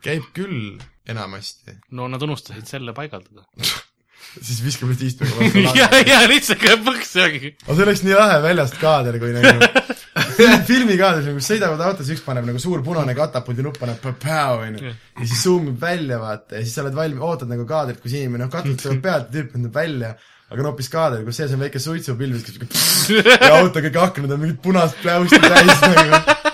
Speaker 3: käib küll enamasti ,
Speaker 2: no nad unustasid selle <laughs> paigaldada .
Speaker 3: siis viskame lihtsalt
Speaker 2: <laughs>
Speaker 3: istmega vastu
Speaker 2: ja
Speaker 3: lagna .,
Speaker 2: ja lihtsalt käib põks jagi .
Speaker 3: aga see oleks nii lahe väljast kaader , kui
Speaker 2: <laughs>
Speaker 3: nagu film- filmikaader , nagu sõidavad autos , üks paneb nagu suur punane katapuldi nupp paneb päpäo , onju . ja siis suumib välja , vaata , ja siis sa oled valmis , ootad nagu kaadrit , kus inimene , noh , katut tuleb pealt , tüüp tuleb välja , aga on hoopis kaader , kus sees on väike suitsupilv , siis käib <laughs> siuke ja auto kõik aknad on mingid punast pläusti täis nagu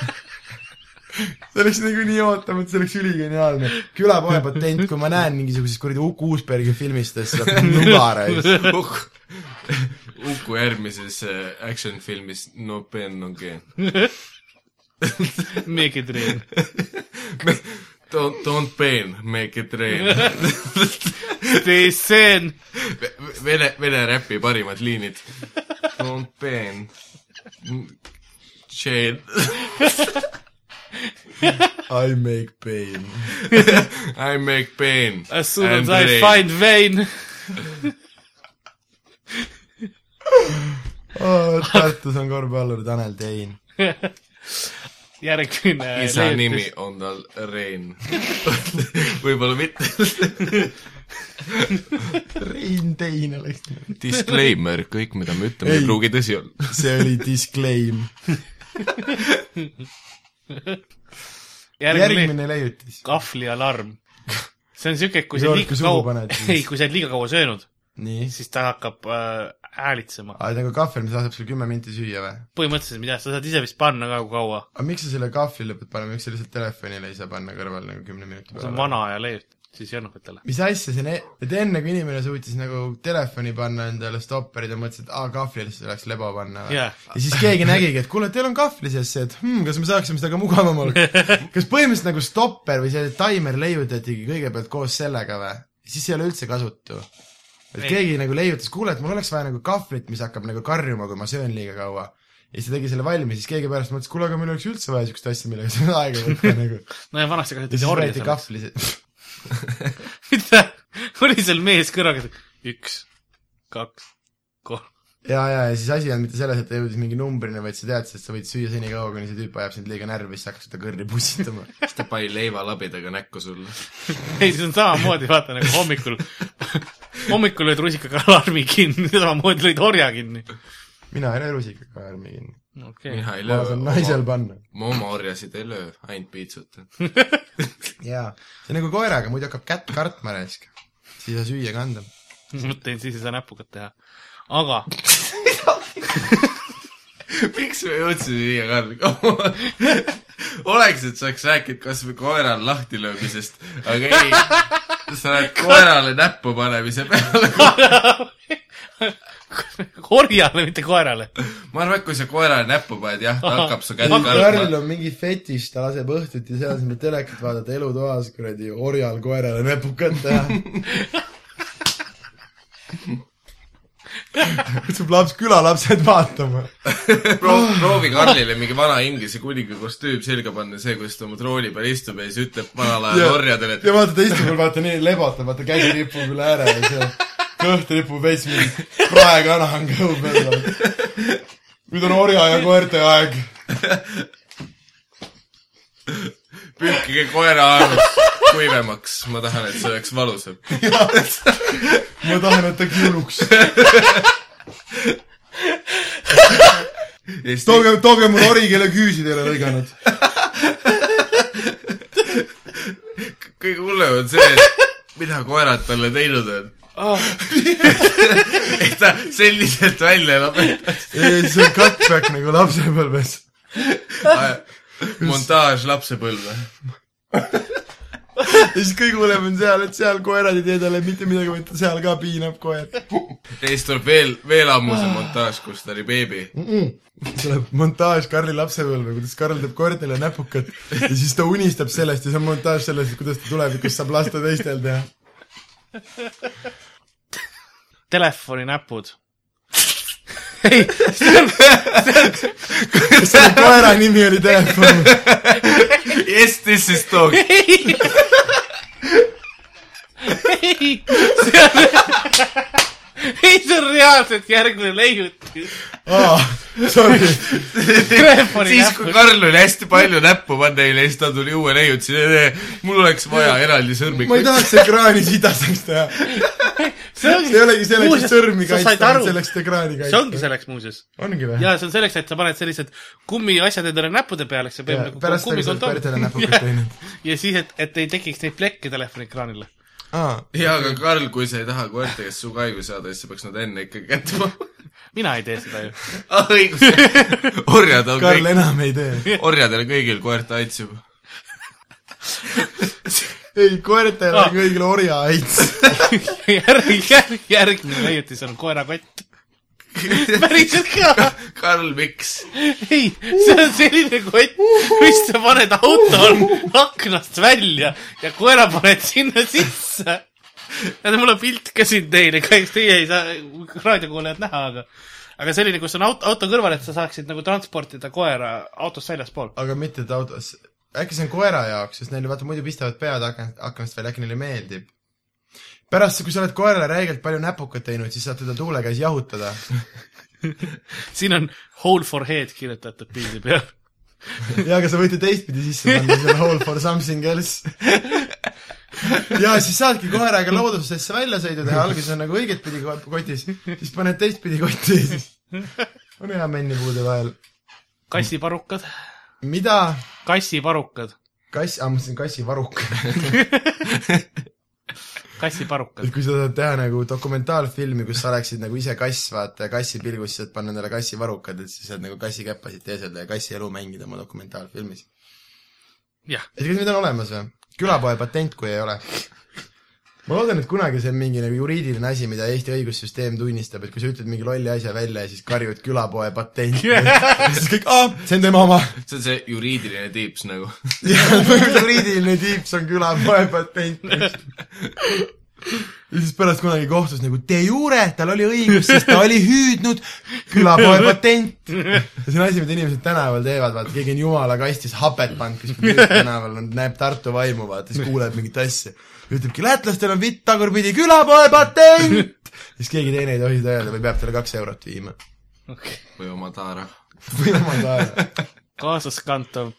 Speaker 3: see oleks nagu nii ootamatu , see oleks üligeniaalne . külapoe patent , kui ma näen mingisuguses kuradi Uku Uusbergi filmistes seda <laughs> nubara ja siis
Speaker 4: Uku järgmises äh, action filmis No pen on gay .
Speaker 2: <laughs> Make it real .
Speaker 4: Don't , don't pain , make it rain .
Speaker 2: They send
Speaker 4: Vene , vene räpi parimad liinid . Don't pain . <laughs> Shade ,
Speaker 3: I make pain .
Speaker 4: I make pain .
Speaker 2: as soon as I find vein .
Speaker 3: Oh, Tartus on korvpallur Tanel Tein .
Speaker 2: järgmine .
Speaker 4: isa nimi . on tal Rein . võib-olla mitte .
Speaker 3: Rein Tein oleks .
Speaker 4: Disclaimer , kõik , mida me ütleme , ei
Speaker 3: Ei.
Speaker 4: pruugi tõsi olla .
Speaker 3: see oli disclaim .
Speaker 2: järgmine .
Speaker 3: järgmine leiutis .
Speaker 2: kahvlialarm . see on siuke , kui sa
Speaker 3: Iga kord,
Speaker 2: liiga
Speaker 3: kui suhu
Speaker 2: kaua
Speaker 3: paned, , siis-
Speaker 2: ei , kui sa oled liiga kaua söönud ,
Speaker 3: nii .
Speaker 2: siis ta hakkab äh, häälitsema .
Speaker 3: aa , nagu kahvel , mis laseb sul kümme minti süüa või ?
Speaker 2: põhimõtteliselt , mida sa saad ise vist panna ka , kui kaua .
Speaker 3: aga miks sa selle kahvlile pead panema , miks sa lihtsalt telefonile ei saa panna kõrval nagu kümne minuti
Speaker 2: see on
Speaker 3: peale ?
Speaker 2: vana aja leiut , siis ei annaks talle .
Speaker 3: mis asja see ne- , et enne kui inimene suutis nagu telefoni panna endale stopperid ja mõtles , et aa , kahvlisse tuleks lebo panna või
Speaker 2: Jah.
Speaker 3: ja siis keegi nägigi , et kuule , teil on kahvli sees see , et hmm, kas me saaksime seda ka
Speaker 2: <laughs>
Speaker 3: mugavamalt . kas põhimõtteliselt nagu stopper või see taimer leiutatigi kõigepealt koos sellega või ? siis ei ole üldse kasutu . et
Speaker 2: Ei.
Speaker 3: keegi nagu leiutas , kuule , et mul oleks vaja nagu kahvlit , mis hakkab nagu karjuma , kui ma söön liiga kaua . ja siis ta tegi selle valmis , siis keegi pärast mõtles , kuule , aga meil oleks üldse vaja siukest asja , millega saab aega võtta
Speaker 2: <laughs>
Speaker 3: nagu .
Speaker 2: no ja vanasti
Speaker 3: ja
Speaker 2: kasutati
Speaker 3: siis
Speaker 2: orja
Speaker 3: võeti
Speaker 2: selleks .
Speaker 3: kahvli sees .
Speaker 2: <laughs> mida , oli seal mees kõrvaga , üks , kaks , kolm . <laughs>
Speaker 3: ja , ja , ja siis asi ei olnud mitte selles , et ta jõudis mingi numbrini , vaid sa teadsid , et sa võid süüa senikaua , kuni see tüüp ajab sind liiga närvi , siis hakkab seda kõrri pussitama .
Speaker 4: siis ta pani leivalabidega näkku sulle .
Speaker 2: ei , see on samamoodi , vaata nagu hommikul , <laughs> hommikul lööd rusikaga alarmi kinni , samamoodi lõid orja kinni .
Speaker 3: <laughs> mina ei löö rusikaga armi kinni .
Speaker 2: okei okay. ,
Speaker 4: mina ei
Speaker 3: ma lasen
Speaker 4: löö
Speaker 3: naisel . panna .
Speaker 4: ma oma orjasid ei löö , ainult piitsutan . <laughs>
Speaker 3: jaa . see on nagu koeraga , muidu hakkab kätt kartma raisk . siis ei saa süüa ka anda .
Speaker 2: mõtlen , siis ei saa näpuga teha . aga
Speaker 4: miks me jõudsime siia ka ? <laughs> oleks , et sa oleks rääkinud kas või koera lahti löömisest , aga ei , sa oled koerale näppu panemise peale . <laughs>
Speaker 2: <laughs> orjale , mitte koerale .
Speaker 4: ma arvan , et kui sa koerale näppu paned , jah , ta hakkab su kätt
Speaker 3: Karl
Speaker 4: kallama .
Speaker 3: on mingi fetiš , ta laseb õhtuti selle asemel telekat vaadata elutoas kuradi orjal koerale näpukat teha . <laughs> kutsub laps , külalapsed vaatama .
Speaker 4: proovi Karlile mingi vana Inglise kuninga kostüüm selga panna , see , kus ta oma trooni peal istub ja siis ütleb vanal
Speaker 3: ja
Speaker 4: ajal orjadele ,
Speaker 3: ja vaata , ta istub veel , vaata nii lebotab , vaata käsi ripub üle ääre ja see kõht ripub veits mingi praekana on kõhu peal . nüüd on orja ja koerte aeg .
Speaker 4: et pühkige koera arust kuivemaks , ma tahan , et see oleks valusam .
Speaker 3: ma tahan , et ta kiuluks .
Speaker 4: ja siis
Speaker 3: tooge , tooge mul ori , kelle küüsid ei ole lõiganud .
Speaker 4: kõige hullem on see , et mida koerad talle teinud on . <laughs> et ta selliselt välja elab
Speaker 3: see on cutback nagu lapsepõlves .
Speaker 4: montaaž lapsepõlve .
Speaker 3: ja siis kõige hullem on seal , et seal koerad ei tee talle mitte midagi , vaid ta seal ka piinab koer .
Speaker 4: ja siis tuleb veel , veel ammusem montaaž , kus ta oli beebi .
Speaker 3: tuleb montaaž Karli lapsepõlve , kuidas Karl teeb koertele näpukat ja siis ta unistab sellest ja see on montaaž sellest , kuidas ta tulevikus saab lasta teistel teha .
Speaker 2: telefoninäpud . ei , see on ,
Speaker 3: selle koera nimi oli telefon .
Speaker 4: Yes , this is dog .
Speaker 2: ei , ei , see on , <laughs> ei , see on reaalselt järgmine leiutis .
Speaker 3: aa , sorry .
Speaker 2: Telefoni
Speaker 4: siis , kui
Speaker 2: näpud.
Speaker 4: Karl oli hästi palju näppu pannud neile , siis ta tuli uue leiutise , mul oleks vaja eraldi sõrmik .
Speaker 3: ma ei tahaks ekraani sidaseks teha .
Speaker 2: see
Speaker 3: see ei olegi selleks , et sõrmi
Speaker 2: sa
Speaker 3: kaitsta ,
Speaker 2: said aru
Speaker 3: vaid , selleks , et ekraani
Speaker 2: see ongi
Speaker 3: kaitsta .
Speaker 2: selleks muuseas .
Speaker 3: ongi või ?
Speaker 2: jaa , see on selleks , et sa paned sellised kummiasjad endale näppude peale , eks see võib nagu
Speaker 3: pärast seda , kui sa oled päritolu näpukad
Speaker 2: kummikondoom .
Speaker 3: teinud .
Speaker 2: <laughs> ja siis , et , et ei tekiks neid plekke telefoni ekraanile .
Speaker 3: aa ,
Speaker 4: jaa , aga Karl , kui sa ei taha koerte käest suga haigu saada , siis sa peaks nad enne ikkagi kätte panema . <laughs>
Speaker 2: mina ei tee seda ju . <laughs>
Speaker 4: ah , õigus . orjad on
Speaker 3: Karl
Speaker 4: kõik ,
Speaker 3: enam ei tee .
Speaker 4: orjadel kõigil koerte aits juba .
Speaker 3: ei , koertel
Speaker 2: Aa.
Speaker 3: on kõigil orjahaits .
Speaker 2: järg , järg , järgmine leiutis on koerakott . <laughs> päriselt ka .
Speaker 4: Karl , miks ?
Speaker 2: ei , see on selline kott , mis sa paned autol aknast välja ja koera paned sinna sisse . ja mul on pilt ka siin teile , kahjuks teie ei saa , raadiokuulajad näha , aga , aga selline , kus on auto , auto kõrval , et sa saaksid nagu transportida koera autost väljaspool .
Speaker 3: aga mitte ta autos , äkki see on koera jaoks , sest neil vaata muidu pistavad pead aknast , aknast välja , äkki neile meeldib . pärast , kui sa oled koerale räigelt palju näpukat teinud , siis saad teda tuule käes jahutada .
Speaker 2: siin on hole for head kirjutatud pildi peal .
Speaker 3: jaa , aga sa võid ju teistpidi sisse panna , see on all for something else . ja siis saadki koeraga loodusesse välja sõidu teha , alguses on nagu õigetpidi ko- kotis , siis paned teistpidi kotti <laughs> ja siis on hea männi puude vahel .
Speaker 2: kassiparukad ,
Speaker 3: mida ?
Speaker 2: kassiparukad ,
Speaker 3: kass , aa ma mõtlesin kassivaruk .
Speaker 2: kassiparukad
Speaker 3: et . kui sa tahad teha nagu dokumentaalfilmi , kus sa oleksid nagu ise kass , vaata , ja kassi pilgus saad panna endale kassivarukad , et siis saad nagu kassikäppasid teeselda ja kassi elu mängida oma dokumentaalfilmis .
Speaker 2: jah ,
Speaker 3: et kas need on olemas või ? külapoe patent , kui ei ole . ma loodan , et kunagi see on mingi nagu juriidiline asi , mida Eesti õigussüsteem tunnistab , et kui sa ütled mingi lolli asja välja ja siis karjud külapoe patent , siis kõik , aa , see on tema oma .
Speaker 4: see on see juriidiline tiips nagu .
Speaker 3: juriidiline tiips on külapoe patent . ja siis pärast kunagi kohtus nagu de jure , tal oli õigus , sest ta oli hüüdnud külapoe patent . ja see on asi , mida inimesed tänaval teevad , vaata keegi on jumala kastis hapet pannud kuskil tänaval , näeb Tartu vaimu , vaata siis kuuleb mingit asja . ütlebki , lätlastel on vitt tagurpidi külapoe patent . siis keegi teine ei tohi seda öelda või peab talle kaks eurot viima .
Speaker 4: või oma taara .
Speaker 3: või jumal tahes .
Speaker 2: kaasaskantav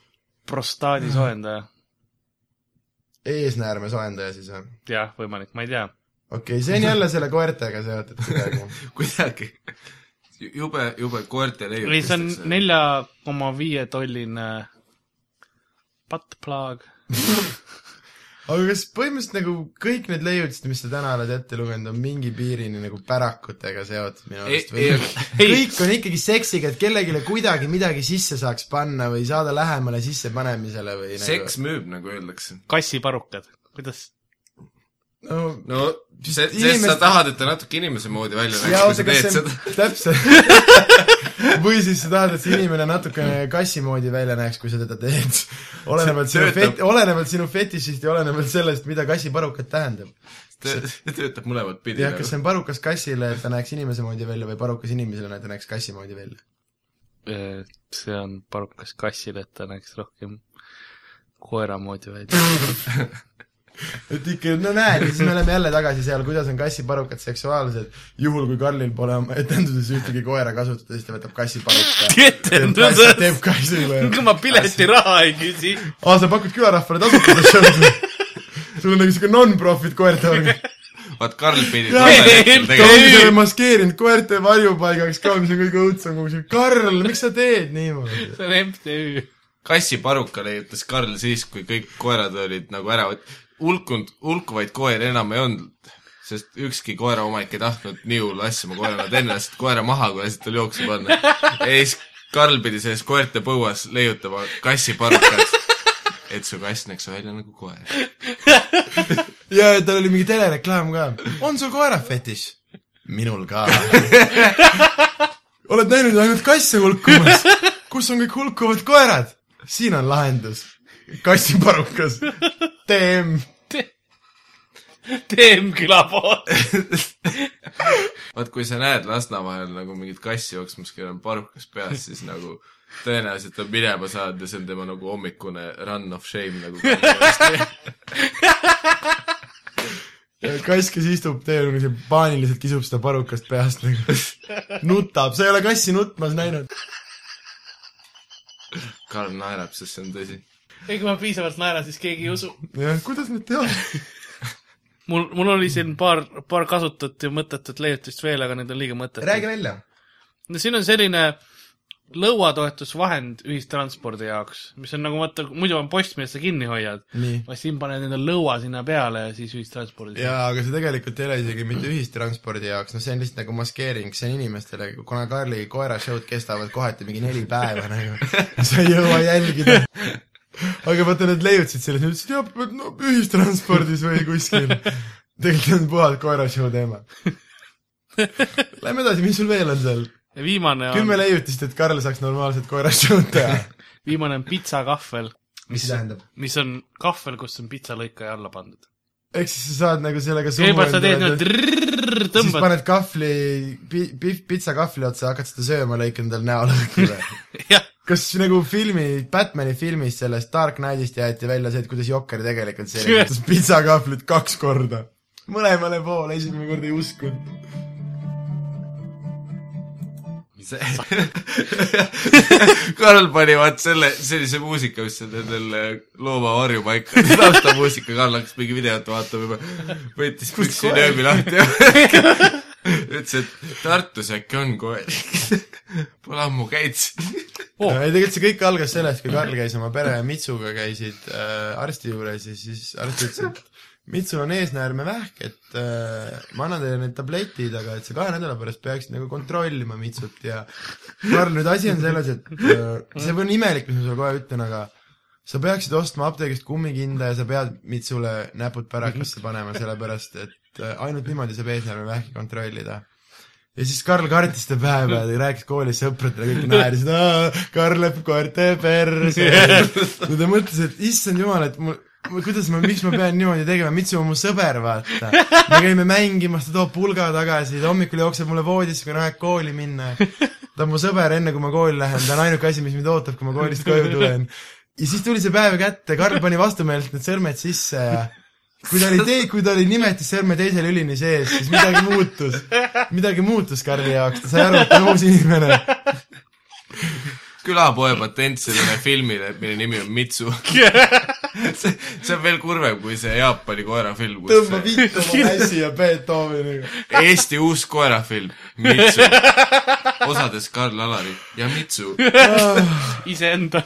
Speaker 2: prostaadi soojendaja ,
Speaker 3: eesnäärme soojendaja siis või ?
Speaker 2: jah , võimalik , ma ei tea .
Speaker 3: okei okay, , see on jälle selle koertega seotud kuidagi .
Speaker 4: kuidagi . jube , jube koerte leiutis .
Speaker 2: ei , see on . nelja koma viie tolline buttplug .
Speaker 3: aga kas põhimõtteliselt nagu kõik need leiutised , mis sa täna oled ette lugenud , on mingi piirini nagu pärakutega seotud minu
Speaker 4: Ei-
Speaker 3: arust või
Speaker 4: ei- ?
Speaker 3: kõik on ikkagi seksiga , et kellelegi kuidagi midagi sisse saaks panna või saada lähemale sissepanemisele või
Speaker 4: e- seks müüb , nagu öeldakse .
Speaker 2: kassiparukad , kuidas ?
Speaker 3: nagu no,
Speaker 4: no , see , sest
Speaker 3: Inimest-
Speaker 4: sa tahad , et ta natuke inimese moodi välja
Speaker 3: ja
Speaker 4: näeks , kui
Speaker 3: oota ,
Speaker 4: sa
Speaker 3: kas
Speaker 4: teed
Speaker 3: see
Speaker 4: seda .
Speaker 3: on <laughs> täpselt või siis sa tahad , et see inimene natukene kassi moodi välja näeks , kui sa teda teed . olenevalt
Speaker 4: See
Speaker 3: sinu
Speaker 4: töötab.
Speaker 3: fet- , olenevalt sinu fetišist ja olenevalt sellest , mida kassiparukad tähendab .
Speaker 4: see töötab mõlemat pidi nagu.
Speaker 3: jah , kas see on parukas kassile , et ta näeks inimese moodi välja või parukas inimesele , et ta näeks kassi moodi välja ?
Speaker 2: Äh, see on parukas kassile , et ta näeks rohkem koera moodi välja . <laughs>
Speaker 3: et ikka , no näed , ja siis me oleme jälle tagasi seal , kuidas on kassiparukad seksuaalsed , juhul kui Karlil pole oma etenduses ühtegi koera kasutada , siis ta võtab kassiparuka . <laughs>
Speaker 2: etenduses ,
Speaker 3: teeb kassile .
Speaker 2: <laughs> ma piletiraha ei küsi .
Speaker 3: aa , sa pakud külarahvale tasuta sotsiaalse ? sul on nagu siuke non-profit koerte <laughs> organ .
Speaker 4: vaat Karl pidi
Speaker 3: Jaa.
Speaker 4: talle
Speaker 3: ta
Speaker 4: tegema
Speaker 3: ongi selle maskeerinud koerte varjupaigaks ka , mis on kõige õudsem kogu see . Karl , miks sa teed niimoodi ?
Speaker 2: see on MTÜ .
Speaker 4: kassiparuka leiutas Karl siis , kui kõik koerad olid nagu ära võt- , hulkunud , hulkuvaid koeri enam ei olnud , sest ükski koeraomanik ei tahtnud nii hullu asja oma koerale teha , enne lasid koera maha , kui lasid tal jooksma panna . ja siis Karl pidi selles koerte põuas leiutama kassiparukat , et su kass näeks välja nagu koer .
Speaker 3: ja , ja tal oli mingi telereklaam ka . on sul koera fetiš ? minul ka . <laughs> oled näinud ainult kasse hulkumas ? kus on kõik hulkuvad koerad ? siin on lahendus . kassiparukas . TM .
Speaker 2: TM külapood .
Speaker 4: vaat kui sa näed Lasna vahel nagu mingit kassi jooksmas , kellel on parukas peas , siis nagu tõenäoliselt on minema saanud ja see on tema nagu hommikune run of shame nagu .
Speaker 3: kass , kes istub teerullis ja paaniliselt kisub seda parukast peast nagu , nutab , sa ei ole kassi nutmas näinud .
Speaker 4: Karl naerab , sest see on tõsi .
Speaker 2: ei , kui ma piisavalt naeran , siis keegi ei usu .
Speaker 3: jah , kuidas nüüd teha ?
Speaker 2: mul , mul oli siin paar , paar kasutut ja mõttetut leiutist veel , aga need on liiga mõttetud .
Speaker 3: räägi välja .
Speaker 2: no siin on selline lõuatoetusvahend ühistranspordi jaoks , mis on nagu vaata , muidu on post , millest sa kinni hoiad .
Speaker 3: nii .
Speaker 2: vaid siin paned enda lõua sinna peale ja siis ühistranspordis .
Speaker 3: jaa , aga see tegelikult ei ole isegi mitte ühistranspordi jaoks , noh see on lihtsalt nagu maskeering , see on inimestele , kuna Karli koerashow'd kestavad kohati mingi neli päeva nagu , sa ei jõua jälgida . aga vaata , nad leiutasid selle , ütlesid jah , no ühistranspordis või kuskil . tegelikult on puhalt koerashow teema . Lähme edasi , mis sul veel on seal ?
Speaker 2: ja viimane
Speaker 3: kümme
Speaker 2: on ,
Speaker 3: leiutist , et Karl saaks normaalset koerashow'd teha .
Speaker 2: viimane on pitsakahvel ,
Speaker 3: mis see tähendab ?
Speaker 2: mis on kahvel , kus on pitsalõikaja alla pandud .
Speaker 3: ehk siis sa saad nagu sellega
Speaker 2: kõigepealt sa teed
Speaker 3: endale-
Speaker 2: niimoodi ,
Speaker 3: siis
Speaker 2: tõmbad
Speaker 3: paned kahvli , pi- , pitsakahvli otsa , hakkad seda sööma , lõikad endale näo lõhki või ?
Speaker 2: jah ,
Speaker 3: kas nagu filmi , Batman'i filmis sellest Dark Knightist jäeti välja see , et kuidas Jokker tegelikult selgitas pitsakahvlit kaks korda ? mõlemale poole , esimene kord ei uskunud .
Speaker 4: see <laughs> Karl pani vaat selle , sellise muusika , mis on nendel äh, loomavarjupaika <laughs> taustamuusika , Karl hakkas mingi videot vaatama juba , võttis püksi
Speaker 3: koer?
Speaker 4: nööbi lahti ja <laughs> ütles , et Tartus äkki on koer . <laughs> Pole ammu käinud siin .
Speaker 2: Oh.
Speaker 3: ei , tegelikult see kõik algas sellest , kui Karl käis oma pere ja Mitsuga käisid äh, arsti juures ja siis arst ütles , et Mitsul on eesnäärmevähk , et äh, ma annan teile need tabletid , aga et sa kahe nädala pärast peaksid nagu kontrollima Mitsut ja Karl , nüüd asi on selles , et äh, see on imelik , mis ma sulle kohe ütlen , aga sa peaksid ostma apteegist kummikinda ja sa pead Mitsule näpud pärakasse panema , sellepärast et äh, ainult niimoodi saab eesnäärmevähki kontrollida ja siis Karl kartis seda päeva ja ta rääkis koolis sõpradele , kõik naersid , Karl läheb koerte perse . no ta mõtles , et issand jumal , et mul , kuidas ma , miks ma pean niimoodi tegema , Mitsu on mu sõber , vaata . me käime mängimas , ta toob pulga tagasi , ta hommikul jookseb mulle voodisse , kui on aeg kooli minna . ta on mu sõber , enne kui ma kooli lähen , ta on ainuke asi , mis mind ootab , kui ma koolist koju tulen . ja siis tuli see päev kätte , Karl pani vastumeelselt need sõrmed sisse ja kui ta oli tee- , kui ta oli nimetis sõrme teise lülini sees , siis midagi muutus . midagi muutus Karli jaoks , ta sai aru , et ta on uus inimene .
Speaker 4: külapoe patent sellele filmile , mille nimi on Mitsu . <laughs> see , see on veel kurvem kui see Jaapani koerafilm , kus
Speaker 3: tõmba viit oma käsi ja Beethoveniga .
Speaker 4: Eesti uus koerafilm , Mitsu . osades Karl Alari ja Mitsu .
Speaker 3: Ah,
Speaker 2: iseenda .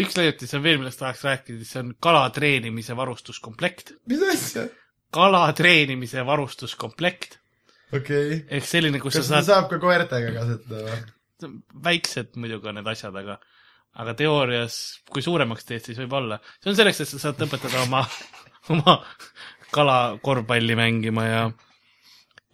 Speaker 2: üks leiutis on veel , millest tahaks rääkida , see on kalatreenimise varustuskomplekt .
Speaker 3: mis asja ?
Speaker 2: kalatreenimise varustuskomplekt
Speaker 3: okei okay. .
Speaker 2: ehk selline , kus
Speaker 3: kas
Speaker 2: sa
Speaker 3: seda
Speaker 2: saad ,
Speaker 3: saab ka koertega kasutada või ?
Speaker 2: väiksed muidugi on need asjad , aga , aga teoorias , kui suuremaks teed , siis võib-olla . see on selleks , et sa saad õpetada oma , <laughs> oma kalakorvpalli mängima ja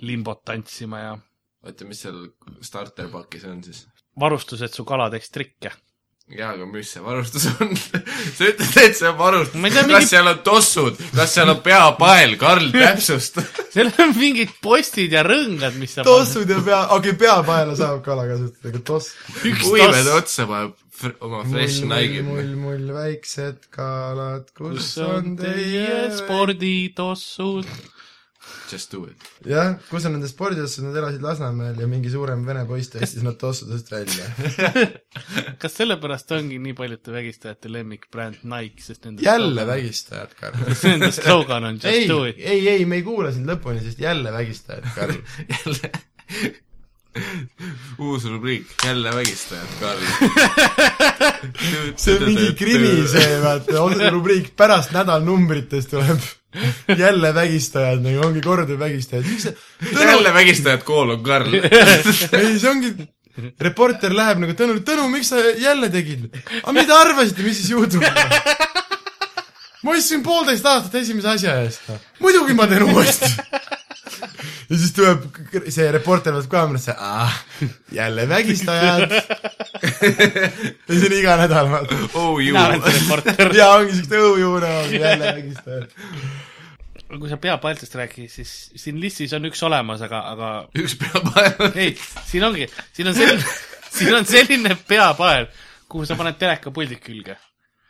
Speaker 2: limbot tantsima ja
Speaker 4: oota , mis seal starter pakis on siis ?
Speaker 2: varustused su kala teeks trikke . <laughs>
Speaker 4: jaa , aga mis see varustus on ? <laughs> sa ütled , et see on varustus .
Speaker 2: Ma ei tea,
Speaker 4: kas
Speaker 2: mingi-
Speaker 4: mingi... seal on tossud , kas seal on peapael , Karl , täpsusta .
Speaker 2: seal on mingid postid ja rõngad , mis sa
Speaker 3: tossud ja pea , okei okay, , peapaela saab kala kasutada , aga toss .
Speaker 2: üks
Speaker 4: uimed
Speaker 2: toss ,
Speaker 4: otsa paneb fr- oma fresh
Speaker 3: mull ,
Speaker 4: Nike'id .
Speaker 3: mull , mull , väiksed kalad , kus
Speaker 2: kus on teie ? sporditossud .
Speaker 4: Just do it .
Speaker 3: jah , kus on nende spordiasjad , nad elasid Lasnamäel ja mingi suurem vene poiss tõstis nad tossudest välja .
Speaker 2: kas sellepärast ongi nii paljude vägistajate lemmikbränd Nike , sest nende
Speaker 3: jälle vägistajad , <laughs> Karl .
Speaker 2: <laughs> Nende slogan on just
Speaker 3: ei
Speaker 2: do , it .
Speaker 3: ei , ei , me ei kuula sind lõpuni , sest jälle vägistajad , <laughs> Karl .
Speaker 4: jälle . uus rubriik , jälle vägistajad , Karl .
Speaker 3: <laughs> see on mingi krimi see , vaata , on see rubriik pärast nädalnumbrites <laughs> tuleb jälle vägistajad , nagu ongi korduv vägistajad , miks see ,
Speaker 4: jälle vägistajad kool on Karl .
Speaker 3: <laughs> ei see ongi , reporter läheb nagu Tõnule , Tõnu , miks sa jälle tegid ? aga mida arvasite , mis siis juhtub ? ma istusin poolteist aastat esimese asja eest . muidugi ma teen uuesti . ja siis tuleb k- k- see reporter vaatab kaamerasse , ah , jälle vägistajad . ja see on iga nädal , vaata .
Speaker 4: oh you
Speaker 2: mina olen see
Speaker 3: <laughs>
Speaker 2: reporter .
Speaker 3: ja ongi siukest õujuune , jälle vägistajad .
Speaker 2: kui sa peapaltsist rääkisid , siis siin listis on üks olemas , aga , aga
Speaker 4: üks peab ajama .
Speaker 2: ei , siin ongi , siin on selline , <laughs> siin on selline peapael , kuhu sa paned telekapuldid külge .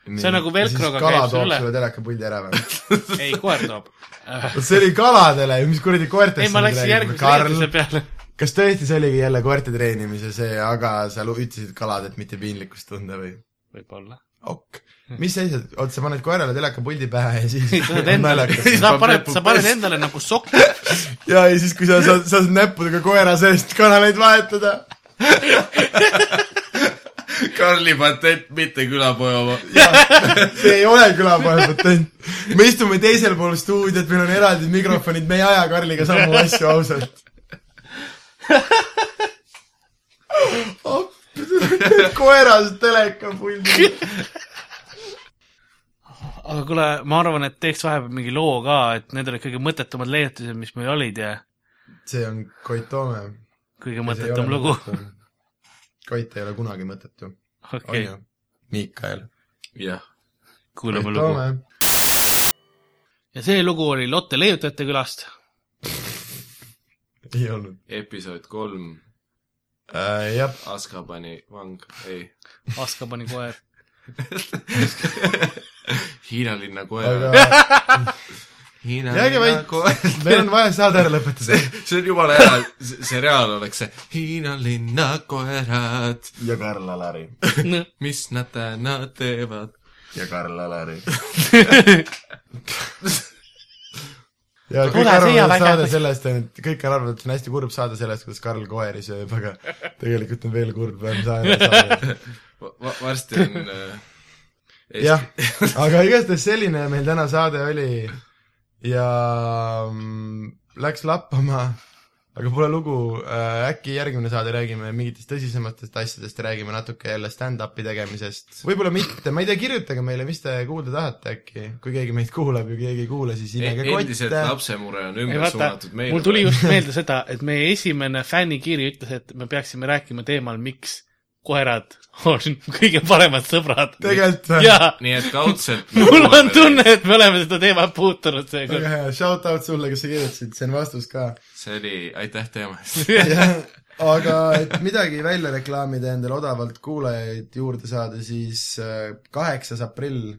Speaker 2: see on nagu velcroga
Speaker 3: kala
Speaker 2: käib
Speaker 3: toob
Speaker 2: sulle ,
Speaker 3: sulle telekapuldi ära või ?
Speaker 2: ei koer toob .
Speaker 3: vot see oli kaladele , mis kuradi koertest
Speaker 2: ei , ma läksin järgmise
Speaker 3: Karl
Speaker 2: leidmise , peale .
Speaker 3: kas tõesti see oligi jälle koerte treenimise see , aga sa lu- ütlesid kalad , et mitte piinlikkust tunda või ?
Speaker 2: võib-olla .
Speaker 3: ok , mis sa ise , oot sa paned koerale telekapuldi pähe ja siis
Speaker 2: sa
Speaker 3: <laughs>
Speaker 2: oled endale ,
Speaker 3: naljakas.
Speaker 2: sa paned , sa paned endale nagu sokki ,
Speaker 3: ja , ja siis , kui sa saad , saad näppudega koera seest kanaleid vahetada
Speaker 4: Karli patent , mitte külapoja oma .
Speaker 3: <laughs> see ei ole külapoja patent . me istume teisel pool stuudiot , meil on eraldi mikrofonid , me ei aja Karliga samu asju
Speaker 2: <laughs>
Speaker 3: ausalt . koeras telekapuldi .
Speaker 2: aga kuule , ma arvan , et teeks vahepeal mingi loo ka , et need olid kõige mõttetumad leiutised , mis meil olid ja
Speaker 3: see on Koit Toome .
Speaker 2: kõige mõttetum lugu .
Speaker 3: Koit ei ole kunagi mõttetu ,
Speaker 2: <laughs>
Speaker 3: on
Speaker 2: okei
Speaker 3: ju ?, Miikael .
Speaker 4: jah ,
Speaker 2: kuulame
Speaker 3: Koit
Speaker 2: lugu .
Speaker 3: Toome .
Speaker 2: ja see lugu oli Lotte leiutajate külast .
Speaker 3: ei olnud
Speaker 4: episood kolm ,
Speaker 3: äh, . jah ,
Speaker 4: Askabani vang , ei .
Speaker 2: Aska pani
Speaker 3: <laughs>
Speaker 2: koer .
Speaker 4: Hiina linna koer .
Speaker 3: aga
Speaker 4: Hiina
Speaker 3: jääge
Speaker 4: linna
Speaker 3: vait
Speaker 4: koer .,
Speaker 3: meil on vaja saade ära lõpetada
Speaker 4: see on jumala hea , seriaal oleks see Hiina linna koerad ,
Speaker 3: ja Karl Alari .
Speaker 2: "Noh,
Speaker 4: mis nad täna teevad .
Speaker 3: ja Karl Alari . ja kõik
Speaker 2: Tule siia,
Speaker 3: arvavad
Speaker 2: väga-
Speaker 3: saada sellest , et kõik on arvanud , et see on hästi kurb saade sellest , kuidas Karl koeri sööb , aga tegelikult on veel kurbem saade, saade. .
Speaker 4: va- , varsti on äh, Eesti
Speaker 3: jah , aga igatahes selline meil täna saade oli ja mm, läks lappama , aga pole lugu , äkki järgmine saade räägime mingitest tõsisematest asjadest , räägime natuke jälle stand-up'i tegemisest , võib-olla mitte , ma ei tea , kirjutage meile , mis te kuulda tahate äkki , kui keegi meid kuulab ja keegi ei kuule , siis
Speaker 4: E-
Speaker 3: imege
Speaker 4: endiselt
Speaker 3: kotte .
Speaker 4: lapsemure on
Speaker 2: ei
Speaker 4: ümber
Speaker 2: vaata
Speaker 4: suunatud , meile .
Speaker 2: mul tuli just
Speaker 3: <laughs>
Speaker 2: meelde seda , et meie esimene fännikiri ütles , et me peaksime rääkima teemal , miks koerad on <laughs> kõige paremad sõbrad .
Speaker 3: tegelikult või ? <laughs>
Speaker 2: jaa ,
Speaker 4: <laughs> nii et kaudselt
Speaker 2: <laughs> mul on tunne , et me oleme seda teemat puutunud seekord
Speaker 3: väga . hea , shout out sulle , kes sa kirjutasid , see on vastus ka .
Speaker 4: see oli , aitäh teema eest .
Speaker 2: <laughs>
Speaker 3: <laughs> aga et midagi välja reklaamida ja endale odavalt kuulajaid juurde saada , siis äh, kaheksas aprill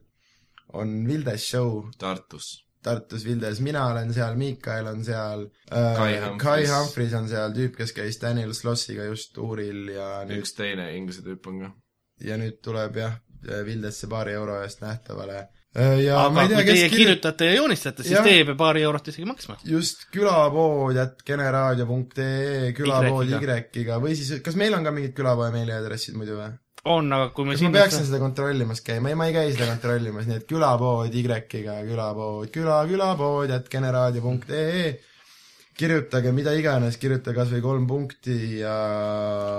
Speaker 3: on Vildes show
Speaker 4: Tartus .
Speaker 3: Tartus Vildes , mina olen seal , Miikael on seal
Speaker 4: Kai
Speaker 3: äh,
Speaker 4: Humphries. ,
Speaker 3: Kai Humphries on seal , tüüp , kes käis Daniel Slossiga just uuril ja nüüd ,
Speaker 4: üks teine inglise tüüp on ka .
Speaker 3: ja nüüd tuleb jah , Vildesse paari euro eest nähtavale . ja aga ma
Speaker 2: aga kui teie
Speaker 3: ei tea , kes kirjutab
Speaker 2: kirjutate ja joonistate , siis
Speaker 3: Jah.
Speaker 2: teie peab paari eurot isegi maksma .
Speaker 3: just külapood jätt keneraadio.ee , külapood Y-iga või siis , kas meil on ka mingid külapoe meiliaadressid muidu või ?
Speaker 2: on , aga kui me
Speaker 3: kas ma
Speaker 2: siin
Speaker 3: peaksin seda kontrollimas käima , ei ma ei käi seda kontrollimas , nii et külapood Y-iga , külapood , küla , külapood jätt keneraadio.ee kirjutage mida iganes , kirjuta kas või kolm punkti ja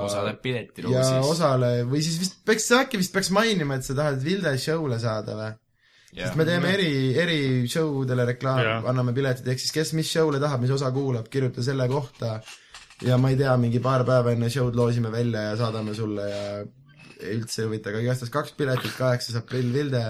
Speaker 4: osaleb piletilugu
Speaker 3: ja
Speaker 4: siis .
Speaker 3: osale või siis vist peaks , äkki vist peaks mainima , et sa tahad Vilde show'le saada või ? sest me teeme eri , eri show dele
Speaker 2: Jaa.
Speaker 3: reklaami , anname piletid , ehk siis kes mis show'le tahab , mis osa kuulab , kirjuta selle kohta ja ma ei tea , mingi paar päeva enne show'd loosime välja ja saadame sulle ja ei üldse ei huvita , aga igastahes kaks piletit , kaheksas aprill Vilde ,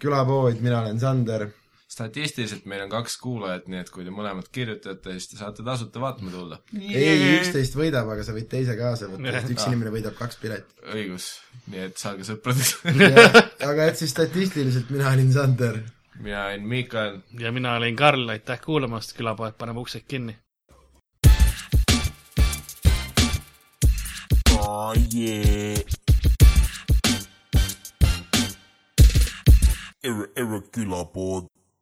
Speaker 3: külapood , mina olen Sander ,
Speaker 4: statistiliselt meil on kaks kuulajat , nii et kui te mõlemad kirjutate , siis te saate tasuta vaatama tulla .
Speaker 3: ei , üksteist võidab , aga sa võid teise kaasa võtta , et üks inimene võidab kaks piletit .
Speaker 4: <laughs> õigus , nii et saage sõpradeks . <laughs>
Speaker 3: aga et siis statistiliselt mina olin Sander
Speaker 4: mina olen Miikael .
Speaker 2: ja mina olin Karl , aitäh kuulamast , külapoed paneb uksed kinni .
Speaker 1: Oh yeah. Ir- irregular board.